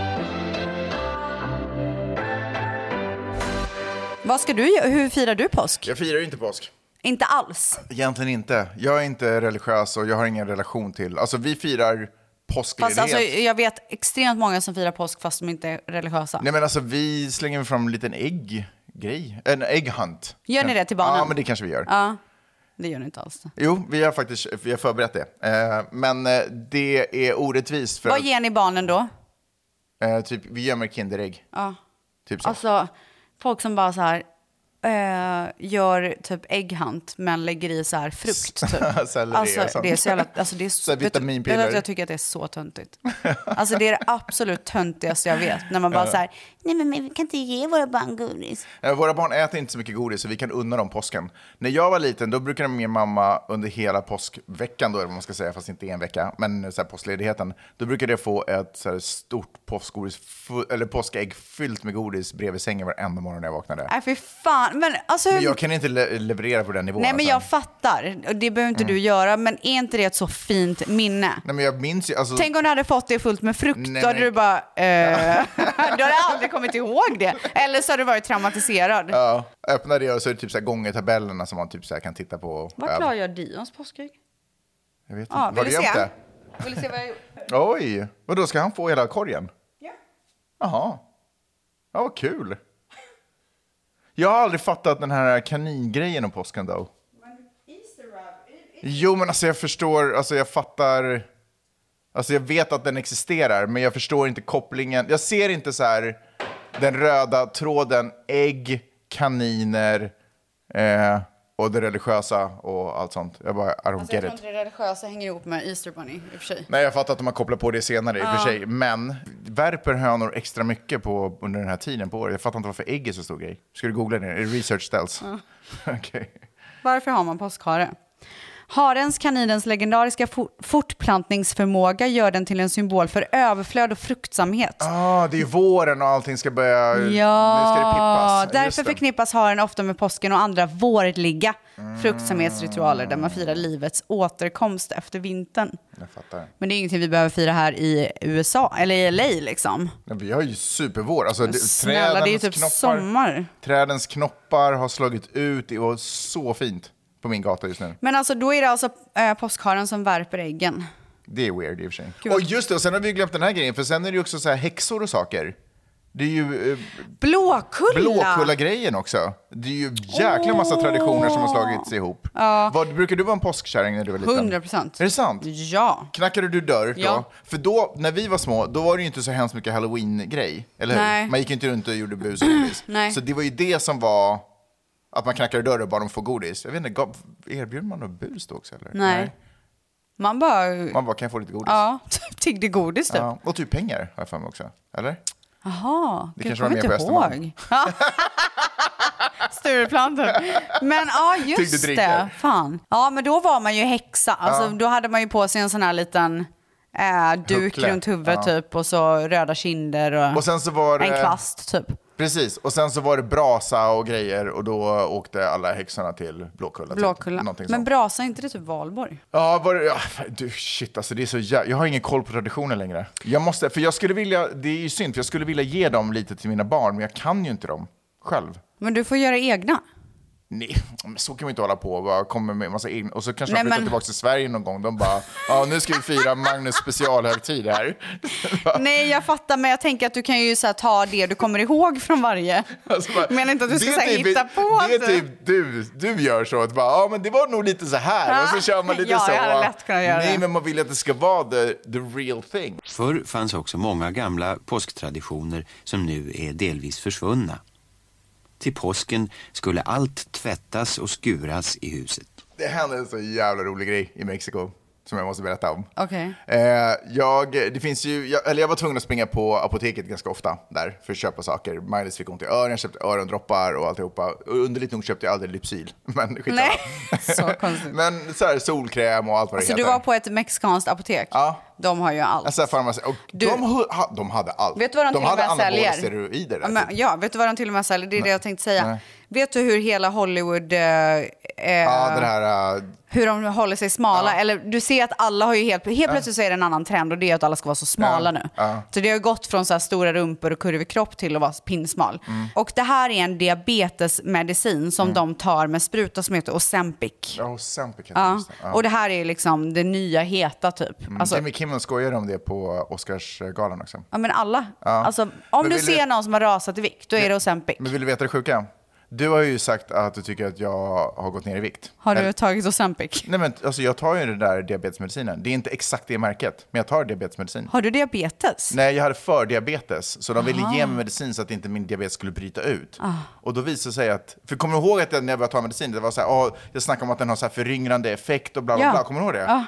Speaker 1: Vad ska du göra? Hur firar du påsk?
Speaker 2: Jag firar ju inte påsk.
Speaker 1: Inte alls.
Speaker 2: Egentligen inte. Jag är inte religiös och jag har ingen relation till... Alltså vi firar påskledighet.
Speaker 1: Fast alltså, jag vet extremt många som firar påsk fast de inte är religiösa.
Speaker 2: Nej men alltså vi slänger väl fram en liten ägggrej. En ägghunt.
Speaker 1: Gör ni det till barnen?
Speaker 2: Ja men det kanske vi gör.
Speaker 1: Ja, det gör ni inte alls.
Speaker 2: Jo, vi har faktiskt vi har förberett det. Eh, Men eh, det är orättvist för
Speaker 1: Vad ger ni barnen då?
Speaker 2: eh, typ, vi gömmer Kinderägg.
Speaker 1: Ja.
Speaker 2: Typ så.
Speaker 1: Alltså, folk som bara så här eh, gör typ ägghunt men lägger i så här frukt. Typ.
Speaker 2: Selleri och
Speaker 1: alltså,
Speaker 2: sånt.
Speaker 1: det är så jävla, alltså, det är så,
Speaker 2: Så här
Speaker 1: vet du-
Speaker 2: vitaminpiller.
Speaker 1: vet du att Jag tycker att det är så töntigt. Alltså det är det absolut töntigaste jag vet. När man bara så här, nej men, men vi kan inte ge våra barn godis.
Speaker 2: Eh, Våra barn äter inte så mycket godis så vi kan unna dem påsken. När jag var liten då brukade min mamma under hela påskveckan, då, eller vad man ska säga, fast inte en vecka, men eh, så här, påskledigheten, då brukade jag få ett så här, stort påskgodis, fu- eller påskägg fyllt med godis bredvid sängen varenda morgon när jag vaknade.
Speaker 1: Nej fy fan. Men alltså hur
Speaker 2: Men jag kan inte le- leverera på den nivån.
Speaker 1: Nej men
Speaker 2: alltså.
Speaker 1: jag fattar, Och det behöver inte
Speaker 2: Mm.
Speaker 1: du göra, men är inte det ett så fint minne?
Speaker 2: Nej, men jag minns ju, alltså,
Speaker 1: Tänk om du hade fått det fullt med frukt,
Speaker 2: Nej,
Speaker 1: då hade
Speaker 2: men-
Speaker 1: du bara, eh, du hade aldrig kommit ihåg det. Eller så hade du varit traumatiserad.
Speaker 2: Ja, öppna det och så är det typ så här gångertabellerna som man typ så här kan titta på. och öva.
Speaker 1: Vart la jag Dions påskägg?
Speaker 2: Jag vet inte.
Speaker 1: Ja,
Speaker 2: Har
Speaker 1: vill
Speaker 2: du
Speaker 1: du se?
Speaker 2: gömt det?
Speaker 1: Vill du se vad jag gjorde?
Speaker 2: Oj, och då ska han få hela korgen? Ja. Jaha. Ja, vad kul. Jag har aldrig fattat den här kaningrejen om påsken då. Jo, men alltså jag förstår, alltså jag fattar, alltså jag vet att den existerar, men jag förstår inte kopplingen. Jag ser inte så här den röda tråden, ägg, kaniner eh, och det religiösa och allt sånt. Jag bara, I don't
Speaker 1: Alltså, jag
Speaker 2: get
Speaker 1: tror
Speaker 2: it. Mm.
Speaker 1: inte det religiösa hänger ihop med Easter Bunny i och för sig.
Speaker 2: Nej, jag fattar att de har kopplat på det senare i och
Speaker 1: Ja.
Speaker 2: för sig. Men värper hönor extra mycket på, under den här tiden på året? Jag fattar inte varför ägg är så stor grej. Ska du googla det? Är det Research tells.
Speaker 1: Ja.
Speaker 2: Okej.
Speaker 1: Varför har man påskhare? Harens, kaninens legendariska for- fortplantningsförmåga gör den till en symbol för överflöd och fruktsamhet.
Speaker 2: Ah, det är ju våren och allting ska börja... Nu ska det
Speaker 1: Ja,
Speaker 2: pippas. Just
Speaker 1: därför
Speaker 2: det.
Speaker 1: förknippas haren ofta med påsken och andra vårliga
Speaker 2: Mm.
Speaker 1: fruktsamhetsritualer där man firar livets återkomst efter vintern.
Speaker 2: Jag fattar.
Speaker 1: Men det är ingenting vi behöver fira här i USA, eller i LA liksom.
Speaker 2: Men vi har ju supervår. Alltså, det,
Speaker 1: Snälla, det är ju
Speaker 2: trädens
Speaker 1: typ sommar.
Speaker 2: Trädens knoppar har slagit ut. Det var så fint på min gata just nu.
Speaker 1: Men alltså då är det alltså eh, påskharen som värper äggen.
Speaker 2: Det är weird i och för sig.
Speaker 1: Gud,
Speaker 2: Och
Speaker 1: vad-
Speaker 2: just det, och sen har vi ju glömt den här grejen, för sen är det ju också så här häxor och saker. Det är ju... Eh,
Speaker 1: Blåkulla!
Speaker 2: Blåkulla-grejen också. Det är ju jäkla massa traditioner som har slagits ihop. Vad, brukar du vara en påskkärring när du var liten?
Speaker 1: 100%.
Speaker 2: Är det sant?
Speaker 1: Ja.
Speaker 2: Knackade du dörr då?
Speaker 1: Ja.
Speaker 2: För då, när vi var små, då var det ju inte så hemskt mycket halloween-grej. Eller hur?
Speaker 1: Nej.
Speaker 2: Man gick ju inte runt och gjorde bus och godis.
Speaker 1: Nej.
Speaker 2: Så det var ju det som var att man knackade dörr och bad om att få godis. Jag vet inte, gav, erbjöd man något bus då också? Eller?
Speaker 1: Nej. Man bara...
Speaker 2: Man bara, kan jag få lite godis?
Speaker 1: Ja, typ tiggde godis typ.
Speaker 2: Ja, Och typ pengar, har jag för mig också. Eller?
Speaker 1: Jaha,
Speaker 2: Det
Speaker 1: gud,
Speaker 2: kanske
Speaker 1: jag
Speaker 2: var
Speaker 1: kommer
Speaker 2: mer
Speaker 1: inte
Speaker 2: på Östermalm.
Speaker 1: ihåg. Stureplan typ. Men ja,
Speaker 2: Tyckte
Speaker 1: just
Speaker 2: dricker.
Speaker 1: det. Fan. Ja, men då var man ju häxa. Alltså,
Speaker 2: Ja.
Speaker 1: Då hade man ju på sig en sån här liten eh, duk
Speaker 2: Huckle.
Speaker 1: runt huvudet
Speaker 2: Ja.
Speaker 1: typ och så röda kinder och,
Speaker 2: Och sen så var det-
Speaker 1: en kvast typ.
Speaker 2: Precis, och sen så var det brasa och grejer och då åkte alla häxorna till Blåkulla.
Speaker 1: Blåkulla.
Speaker 2: Typ. Någonting
Speaker 1: Men
Speaker 2: sånt.
Speaker 1: brasa, är inte det typ Valborg?
Speaker 2: Ja, var det, ja, du, shit alltså det är så jä... Jag har ingen koll på traditionen längre. Jag måste, för jag skulle vilja, det är ju synd, för jag skulle vilja ge dem lite till mina barn, men jag kan ju inte dem själv.
Speaker 1: Men du får göra egna.
Speaker 2: Nej, men så kan vi inte hålla på och bara komma med massa in. Och så kanske
Speaker 1: Nej,
Speaker 2: de flyttar
Speaker 1: men-
Speaker 2: tillbaka till Sverige någon gång. De bara, ja nu ska vi fira Magnus specialhögtid här.
Speaker 1: Nej, jag fattar, men jag tänker att du kan ju så här, ta det du kommer ihåg från varje.
Speaker 2: Alltså bara,
Speaker 1: men inte att du ska
Speaker 2: det
Speaker 1: så här,
Speaker 2: är typ-
Speaker 1: hitta på. alltså."
Speaker 2: Det är typ du, du gör så att bara, ja men det var nog lite så här och så kör man lite
Speaker 1: Ja,
Speaker 2: så.
Speaker 1: jag hade lätt kunnat göra
Speaker 2: Nej
Speaker 1: det.
Speaker 2: men man vill att det ska vara the, the real thing.
Speaker 12: Förr fanns också många gamla påsktraditioner som nu är delvis försvunna. Till påsken skulle allt tvättas och skuras i huset.
Speaker 2: Det hände en så jävla rolig grej i Mexiko. som jag måste berätta om.
Speaker 1: Okej.
Speaker 2: Eh, jag, det finns ju, jag, eller jag var tvungen att springa på apoteket ganska ofta där för att köpa saker. Maj-Lis fick ont i öronen, köpte örondroppar och alltihopa. Och Underligt nog köpte jag aldrig Lypsyl. Men skitsamma.
Speaker 1: Nej, så konstigt.
Speaker 2: Men så här, solkräm och allt vad det
Speaker 1: Så
Speaker 2: heter.
Speaker 1: Alltså, du var på ett mexikanskt apotek? Ja. De har ju allt.
Speaker 2: Alltså farmaci- och
Speaker 1: Du-
Speaker 2: de, hu- ha, de hade allt.
Speaker 1: Vet du vad de till och
Speaker 2: hade
Speaker 1: med säljer?
Speaker 2: steroider där. typ.
Speaker 1: Ja, men, ja, vet du vad de till och med säljer? Det är
Speaker 2: Nej.
Speaker 1: det jag tänkte säga.
Speaker 2: Nej.
Speaker 1: Vet du hur hela Hollywood... Eh,
Speaker 2: ja,
Speaker 1: eh,
Speaker 2: det här... eh,
Speaker 1: Hur de håller sig smala. Eller du ser att alla har ju helt... Helt plötsligt så är det en annan trend och det är att alla ska vara så smala
Speaker 2: ja,
Speaker 1: nu.
Speaker 2: Ja.
Speaker 1: Så det har gått från så här stora rumpor och kurvig kropp till att vara pinsmal.
Speaker 2: Mm.
Speaker 1: Och det här är en diabetesmedicin som de tar med spruta som heter Ozempic.
Speaker 2: Ja, Ozempic heter det,
Speaker 1: Ja.
Speaker 2: just det. Ja.
Speaker 1: Och det här är liksom det nya heta typ.
Speaker 2: Mm.
Speaker 1: Alltså,
Speaker 2: Jimmy Kimmel skojade om det på Oscarsgalan också.
Speaker 1: ja men alla.
Speaker 2: Ja.
Speaker 1: Alltså, om
Speaker 2: Men
Speaker 1: du
Speaker 2: vill
Speaker 1: ser någon som har rasat i vikt, då är det Ozempic.
Speaker 2: Men vill du veta det sjuka? Du har ju sagt att du tycker att jag har gått ner i vikt.
Speaker 1: Har du
Speaker 2: Eller-
Speaker 1: tagit Ozempic?
Speaker 2: Nej, men alltså jag tar ju den där diabetesmedicinen. Det är inte exakt det märket, men jag tar diabetesmedicin.
Speaker 1: Har du diabetes?
Speaker 2: Nej, jag hade fördiabetes, så de ville
Speaker 1: Aha.
Speaker 2: ge mig medicin så att inte min diabetes skulle bryta ut.
Speaker 1: Ah.
Speaker 2: Och då visade det sig att, för kommer du ihåg att jag, när jag började ta medicin, det var så här, ah, jag snackade om att den har så här föryngrande effekt och bla bla
Speaker 1: Ja. Ah.
Speaker 2: bla, kommer du ihåg det?
Speaker 1: Ja.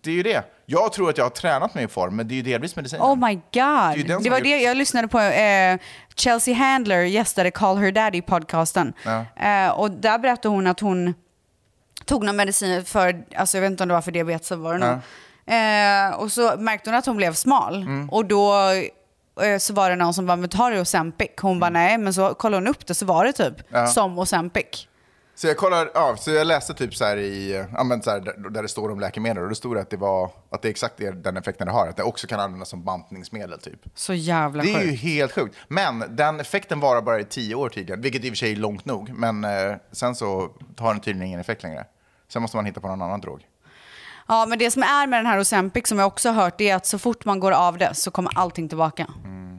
Speaker 2: Det är ju det. Jag tror att jag har tränat mig i form, men det är ju delvis medicinen.
Speaker 1: Oh my
Speaker 2: ju den
Speaker 1: god.
Speaker 2: som
Speaker 1: Det var
Speaker 2: har
Speaker 1: det
Speaker 2: gjort-
Speaker 1: jag lyssnade på. Eh, Chelsea Handler gästade Call Her Daddy-podcasten.
Speaker 2: Ja.
Speaker 1: Eh, och där berättade hon att hon tog någon medicin för, alltså jag vet inte om det var för diabetes eller vad det
Speaker 2: Ja.
Speaker 1: nu. Eh, och så märkte hon att hon blev smal.
Speaker 2: Mm.
Speaker 1: Och då eh, så var det någon som bara, men ta det Ozempic. Hon bara, nej, men så kollade hon upp det så var det typ
Speaker 2: Mm. Ja.
Speaker 1: som Ozempic.
Speaker 2: Så jag, kollar, ja, så jag läste typ så här i, ja, men så här, där, där det står om läkemedel och då stod det att det, var, att det är exakt det, den effekten det har, att det också kan användas som bantningsmedel typ.
Speaker 1: Så jävla
Speaker 2: Det är ju
Speaker 1: sjukt.
Speaker 2: helt sjukt. Men den effekten varar bara i tio år tydligen, vilket i och för sig är långt nog. Men eh, sen så har den tydligen ingen effekt längre. Sen måste man hitta på någon annan drog.
Speaker 1: Ja, men det som är med den här Ozempic som jag också har hört, det är att så fort man går av det så kommer allting tillbaka.
Speaker 2: Mm.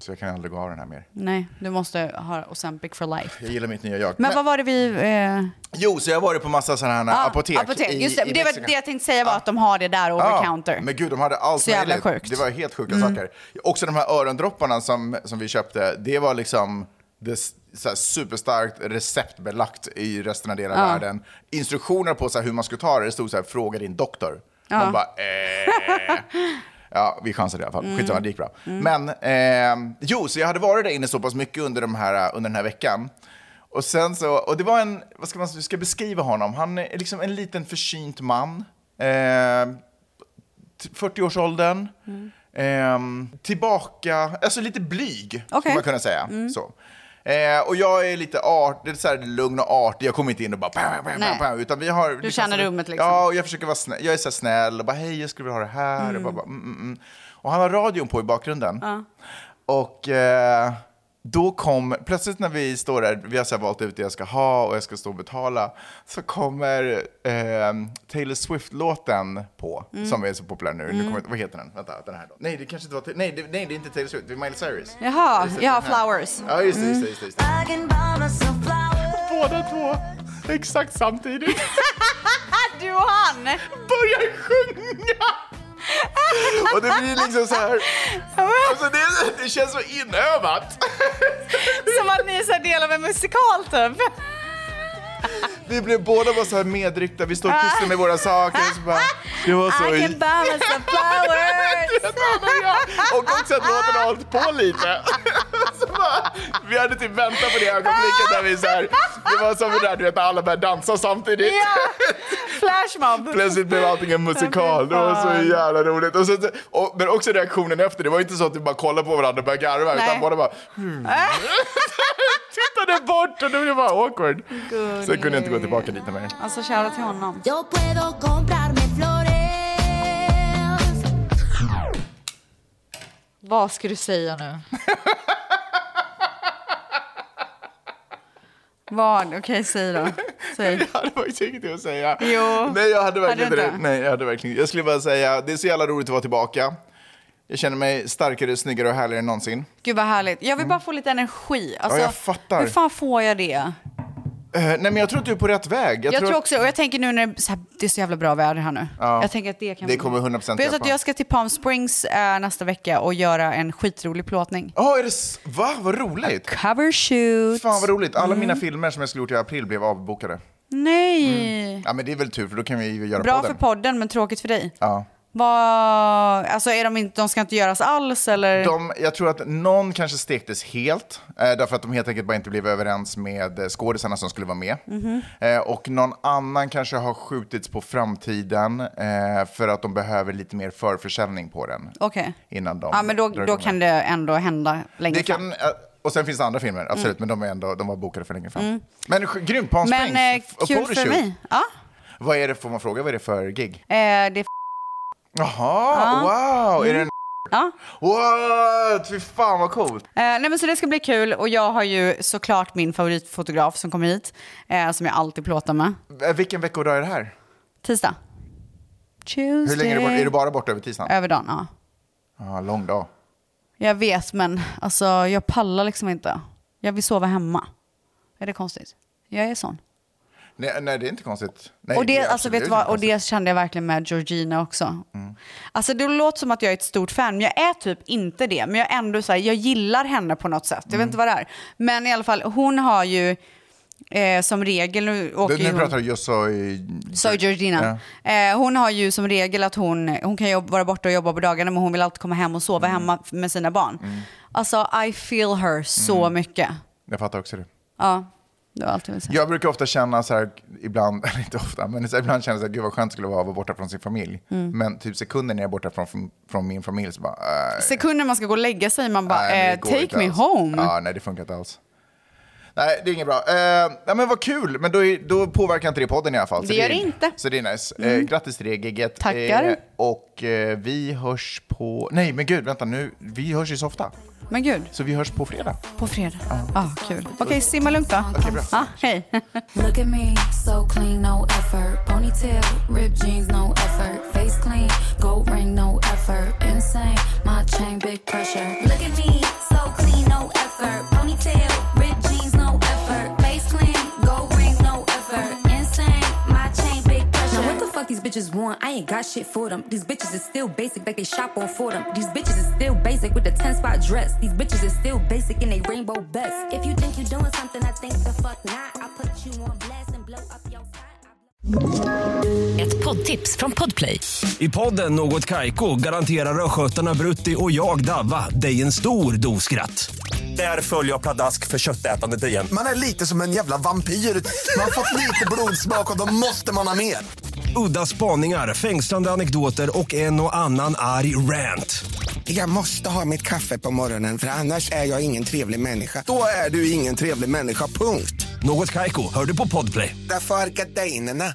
Speaker 2: Så jag kan aldrig gå av den här mer.
Speaker 1: Nej, du måste ha Ozempic for life.
Speaker 2: Jag gillar mitt nya jag.
Speaker 1: Men vad var det vi... Eh,
Speaker 2: Jo, så jag har varit på massa sådana här
Speaker 1: ah,
Speaker 2: Ah, apotek, i,
Speaker 1: Just det,
Speaker 2: i
Speaker 1: det, var,
Speaker 2: Mexiko.
Speaker 1: det jag tänkte säga var att de har det där over
Speaker 2: Ja,
Speaker 1: counter.
Speaker 2: Ah, Men gud, de hade allt
Speaker 1: Så jävla
Speaker 2: möjligt.
Speaker 1: sjukt.
Speaker 2: Det var helt sjuka
Speaker 1: Mm.
Speaker 2: saker. Också de här örondropparna som, som vi köpte, det var liksom det, s- så här, superstarkt receptbelagt i resten av hela
Speaker 1: Ja.
Speaker 2: världen. Instruktioner på så här, hur man skulle ta det, det stod så här, fråga din doktor.
Speaker 1: Ja.
Speaker 2: Man bara, eh. Ja, vi chansade i alla fall.
Speaker 1: Mm.
Speaker 2: Skitsamma, det gick bra.
Speaker 1: Mm.
Speaker 2: Men, eh, jo, så jag hade varit där inne så pass mycket under, de här, under den här veckan. Och sen så, och det var en, vad ska man hur ska jag beskriva honom? Han är liksom en liten försynt man. Eh, t- 40-årsåldern. Ehm, tillbaka, alltså lite blyg, skulle man kunna säga. Så. Eh, och jag är lite art, det är så här lugn och artig. Jag kommer inte in och bara... Bam, bam,
Speaker 1: Nej.
Speaker 2: bam, bam, utan vi har,
Speaker 1: känner rummet liksom.
Speaker 2: Ja, och jag försöker vara snäll. Jag är så här snäll och bara hej, jag skulle vilja ha det här.
Speaker 1: Mm.
Speaker 2: Och, bara, bara, mm, mm, mm. och han har radion på i bakgrunden.
Speaker 1: Ja.
Speaker 2: Och eh, då kom, plötsligt när vi står där, vi har så här valt ut det jag ska ha och jag ska stå och betala, så kommer eh, Taylor Swift-låten på,
Speaker 13: Mm.
Speaker 2: som är så populär nu. nu
Speaker 13: Mm.
Speaker 2: kommer, jag inte- vad heter den? Vänta, den här då. Nej, det kanske inte var, Ta- nej, det, nej, det är inte Taylor Swift, det är Miley Cyrus.
Speaker 1: Jaha,
Speaker 2: Just det,
Speaker 1: ja,
Speaker 2: den här.
Speaker 1: flowers.
Speaker 2: Ja, just det, just det, just det. Just det.
Speaker 4: Båda två exakt samtidigt.
Speaker 1: du och han!
Speaker 4: Börjar sjunga!
Speaker 2: Och det blir liksom så här, alltså det, det känns så inövat.
Speaker 1: Som att ni är så här del av en musikal typ.
Speaker 2: Vi blev båda bara så här medryckta, vi står och pysslar med våra saker. och Så bara, det var så...
Speaker 4: I can
Speaker 1: buy us a flowers!
Speaker 2: och också att låten har hållit på lite. Så bara, vi hade typ väntat på det ögonblicket där vi så här, det var som det där du vet när alla började dansa samtidigt.
Speaker 1: Ja. Flashmob.
Speaker 2: Plötsligt blev allting en musikal, det var så jävla roligt. Och så, och, men också reaktionen efter, det var inte så att vi bara kollade på varandra och började garva,
Speaker 4: Nej.
Speaker 2: utan båda bara hmm. tittade bort och det blev bara awkward. Så jag kunde inte gå tillbaka dit mer.
Speaker 1: Alltså shoutout till honom. Vad ska du säga nu? Vad? Okej, säg då. Säg.
Speaker 2: Jag hade faktiskt ingenting att säga.
Speaker 1: Jo.
Speaker 2: Nej, jag hade verkligen inte
Speaker 1: Hade du inte?
Speaker 2: det. Nej, jag hade verkligen inte. Jag skulle bara säga, det är så jävla roligt att vara tillbaka. Jag känner mig starkare, snyggare och härligare än någonsin.
Speaker 1: Gud vad härligt. Jag vill bara få lite energi. Alltså,
Speaker 2: ja, jag fattar.
Speaker 1: hur fan får jag det?
Speaker 2: Eh, nej, men jag tror att du är på rätt väg.
Speaker 1: Jag, tror också det. Och jag tänker nu när det är så, här, det är så jävla bra väder här nu.
Speaker 2: Ja.
Speaker 1: Jag tänker att det kan...
Speaker 2: Det kommer 100%
Speaker 1: Vet du att
Speaker 2: hjälpa.
Speaker 1: jag ska till Palm Springs eh, nästa vecka och göra en skitrolig plåtning.
Speaker 2: Ja, är det... s- Va? Vad roligt!
Speaker 1: Cover shoot.
Speaker 2: Fan vad roligt. Alla
Speaker 1: Mm.
Speaker 2: mina filmer som jag skulle gjort i april blev avbokade.
Speaker 1: Nej.
Speaker 2: Ja, men det är väl tur, för då kan vi ju göra
Speaker 1: Bra
Speaker 2: Mm. podden.
Speaker 1: för podden men tråkigt för dig.
Speaker 2: Ja.
Speaker 1: Vad, alltså är de inte, de ska inte göras alls eller?
Speaker 2: De, jag tror att någon kanske stektes helt, eh, därför att de helt enkelt bara inte blev överens med eh, skådisarna som skulle vara med.
Speaker 1: Mhm.
Speaker 2: Eh, och någon annan kanske har skjutits på framtiden eh, för att de behöver lite mer förförsäljning på den.
Speaker 1: Okej.
Speaker 2: Innan de
Speaker 1: Ja men då,
Speaker 2: drar
Speaker 1: då
Speaker 2: igång
Speaker 1: kan det ändå hända längre
Speaker 2: Det kan,
Speaker 1: fram.
Speaker 2: eh, och sen finns det andra
Speaker 1: Mm.
Speaker 2: filmer, absolut, men de, är ändå, de var bokade för länge fram. Men sk- grymt, Palm
Speaker 1: Men eh,
Speaker 2: Springs. och
Speaker 1: kul
Speaker 2: photoshoot.
Speaker 1: för mig. Ja.
Speaker 2: Vad är det, får man fråga, vad är det för gig?
Speaker 1: Eh, det är
Speaker 2: Jaha,
Speaker 1: Ja.
Speaker 2: wow! Är det en
Speaker 1: Mm. Ja.
Speaker 2: What? Fy fan vad coolt!
Speaker 1: Eh, nej men så det ska bli kul och jag har ju såklart min favoritfotograf som kommer hit. Eh, som jag alltid plåtar med.
Speaker 2: Eh, Vilken veckodag är det här?
Speaker 1: Tisdag. Tuesday.
Speaker 2: Hur länge är du borta? Är du bara borta över tisdagen?
Speaker 1: Över dagen, ja.
Speaker 2: Ja, lång dag.
Speaker 1: Jag vet men alltså jag pallar liksom inte. Jag vill sova hemma. Är det konstigt? Jag är sån.
Speaker 2: Nej, nej, det är inte konstigt. Nej,
Speaker 1: och det,
Speaker 2: är
Speaker 1: alltså, vet du
Speaker 2: absolut
Speaker 1: vad,
Speaker 2: inte Mm.
Speaker 1: och det kände jag verkligen med Georgina också. Alltså det låter som att jag är ett stort fan, men jag är typ inte det. Men jag är ändå så här, jag gillar henne på något sätt. Jag
Speaker 2: Mm.
Speaker 1: vet inte vad det är. Men i alla fall, hon har ju eh, som regel, nu åker
Speaker 2: konstigt. Du,
Speaker 1: ju
Speaker 2: nu
Speaker 1: hon...
Speaker 2: pratar du just så i...
Speaker 1: Soy Georgina. Eh, hon har ju som regel att hon, hon kan jobba, vara borta och jobba på dagarna men hon vill alltid komma hem och sova
Speaker 2: Mm.
Speaker 1: hemma med sina barn. Alltså I feel her så
Speaker 2: Mm.
Speaker 1: mycket.
Speaker 2: Jag fattar också det.
Speaker 1: Ja, det var allt jag ville säga.
Speaker 2: Jag brukar ofta känna så här, ibland, eller inte ofta, men så här, ibland känner jag så här, gud vad skönt det skulle vara att vara borta från sin familj.
Speaker 1: Mm.
Speaker 2: Men typ sekunden när jag är borta från, från min familj så bara, äh,
Speaker 1: Sekunden man ska gå och lägga sig man bara,
Speaker 2: nej, men det
Speaker 1: eh,
Speaker 2: går
Speaker 1: take
Speaker 2: inte
Speaker 1: me
Speaker 2: alls.
Speaker 1: home.
Speaker 2: Ja, nej, det funkar inte alls. Nej, det är inget bra. Eh, ja, men vad kul, men då, är, då påverkar inte det podden i alla fall.
Speaker 1: Det gör
Speaker 2: är-
Speaker 1: det inte.
Speaker 2: Så det är nice. Eh,
Speaker 1: Mm.
Speaker 2: grattis till det gigget.
Speaker 1: Tackar.
Speaker 2: Eh, och eh, vi hörs på... Nej, men gud, vänta nu. Vi hörs ju så ofta.
Speaker 1: Men gud.
Speaker 2: Så vi hörs på fredag.
Speaker 1: På fredag. Ja, kul. Okej, simma lugnt då.
Speaker 2: bra.
Speaker 1: Ja, hej.
Speaker 13: Look at me, so clean, no effort. Ponytail, ripped jeans, no effort. Face clean, gold ring, no effort. Insane, my chain, big pressure. Look at me, so clean, no effort. Ponytail, ripped jeans, no effort. Face clean, gold ring, no effort. Insane, my chain, big pressure.
Speaker 14: Now what the fuck these bitches want? I ain't got shit for them. These bitches is still basic, like they shop on Fordham. These bitches is still basic with the 10 spot dress. These bitches is still basic in they rainbow best. If you think you doing something, I think the fuck not. I put you on blast and blow up your
Speaker 5: Ett poddtips från Podplay.
Speaker 6: I podden Något Kaiko garanterar östgötarna Brutti och jag, Davva, dig en stor dos skratt. Där följer jag pladask för köttätandet igen.
Speaker 7: Man är lite som en jävla vampyr. Man har fått lite blodsmak och då måste man ha mer.
Speaker 6: Udda spaningar, fängslande anekdoter och en och annan arg rant.
Speaker 7: Jag måste ha mitt kaffe på morgonen för annars är jag ingen trevlig människa. Då är du ingen trevlig människa, punkt.
Speaker 6: Något Kaiko, hör du på podplay.
Speaker 7: Därför arkadeinerna.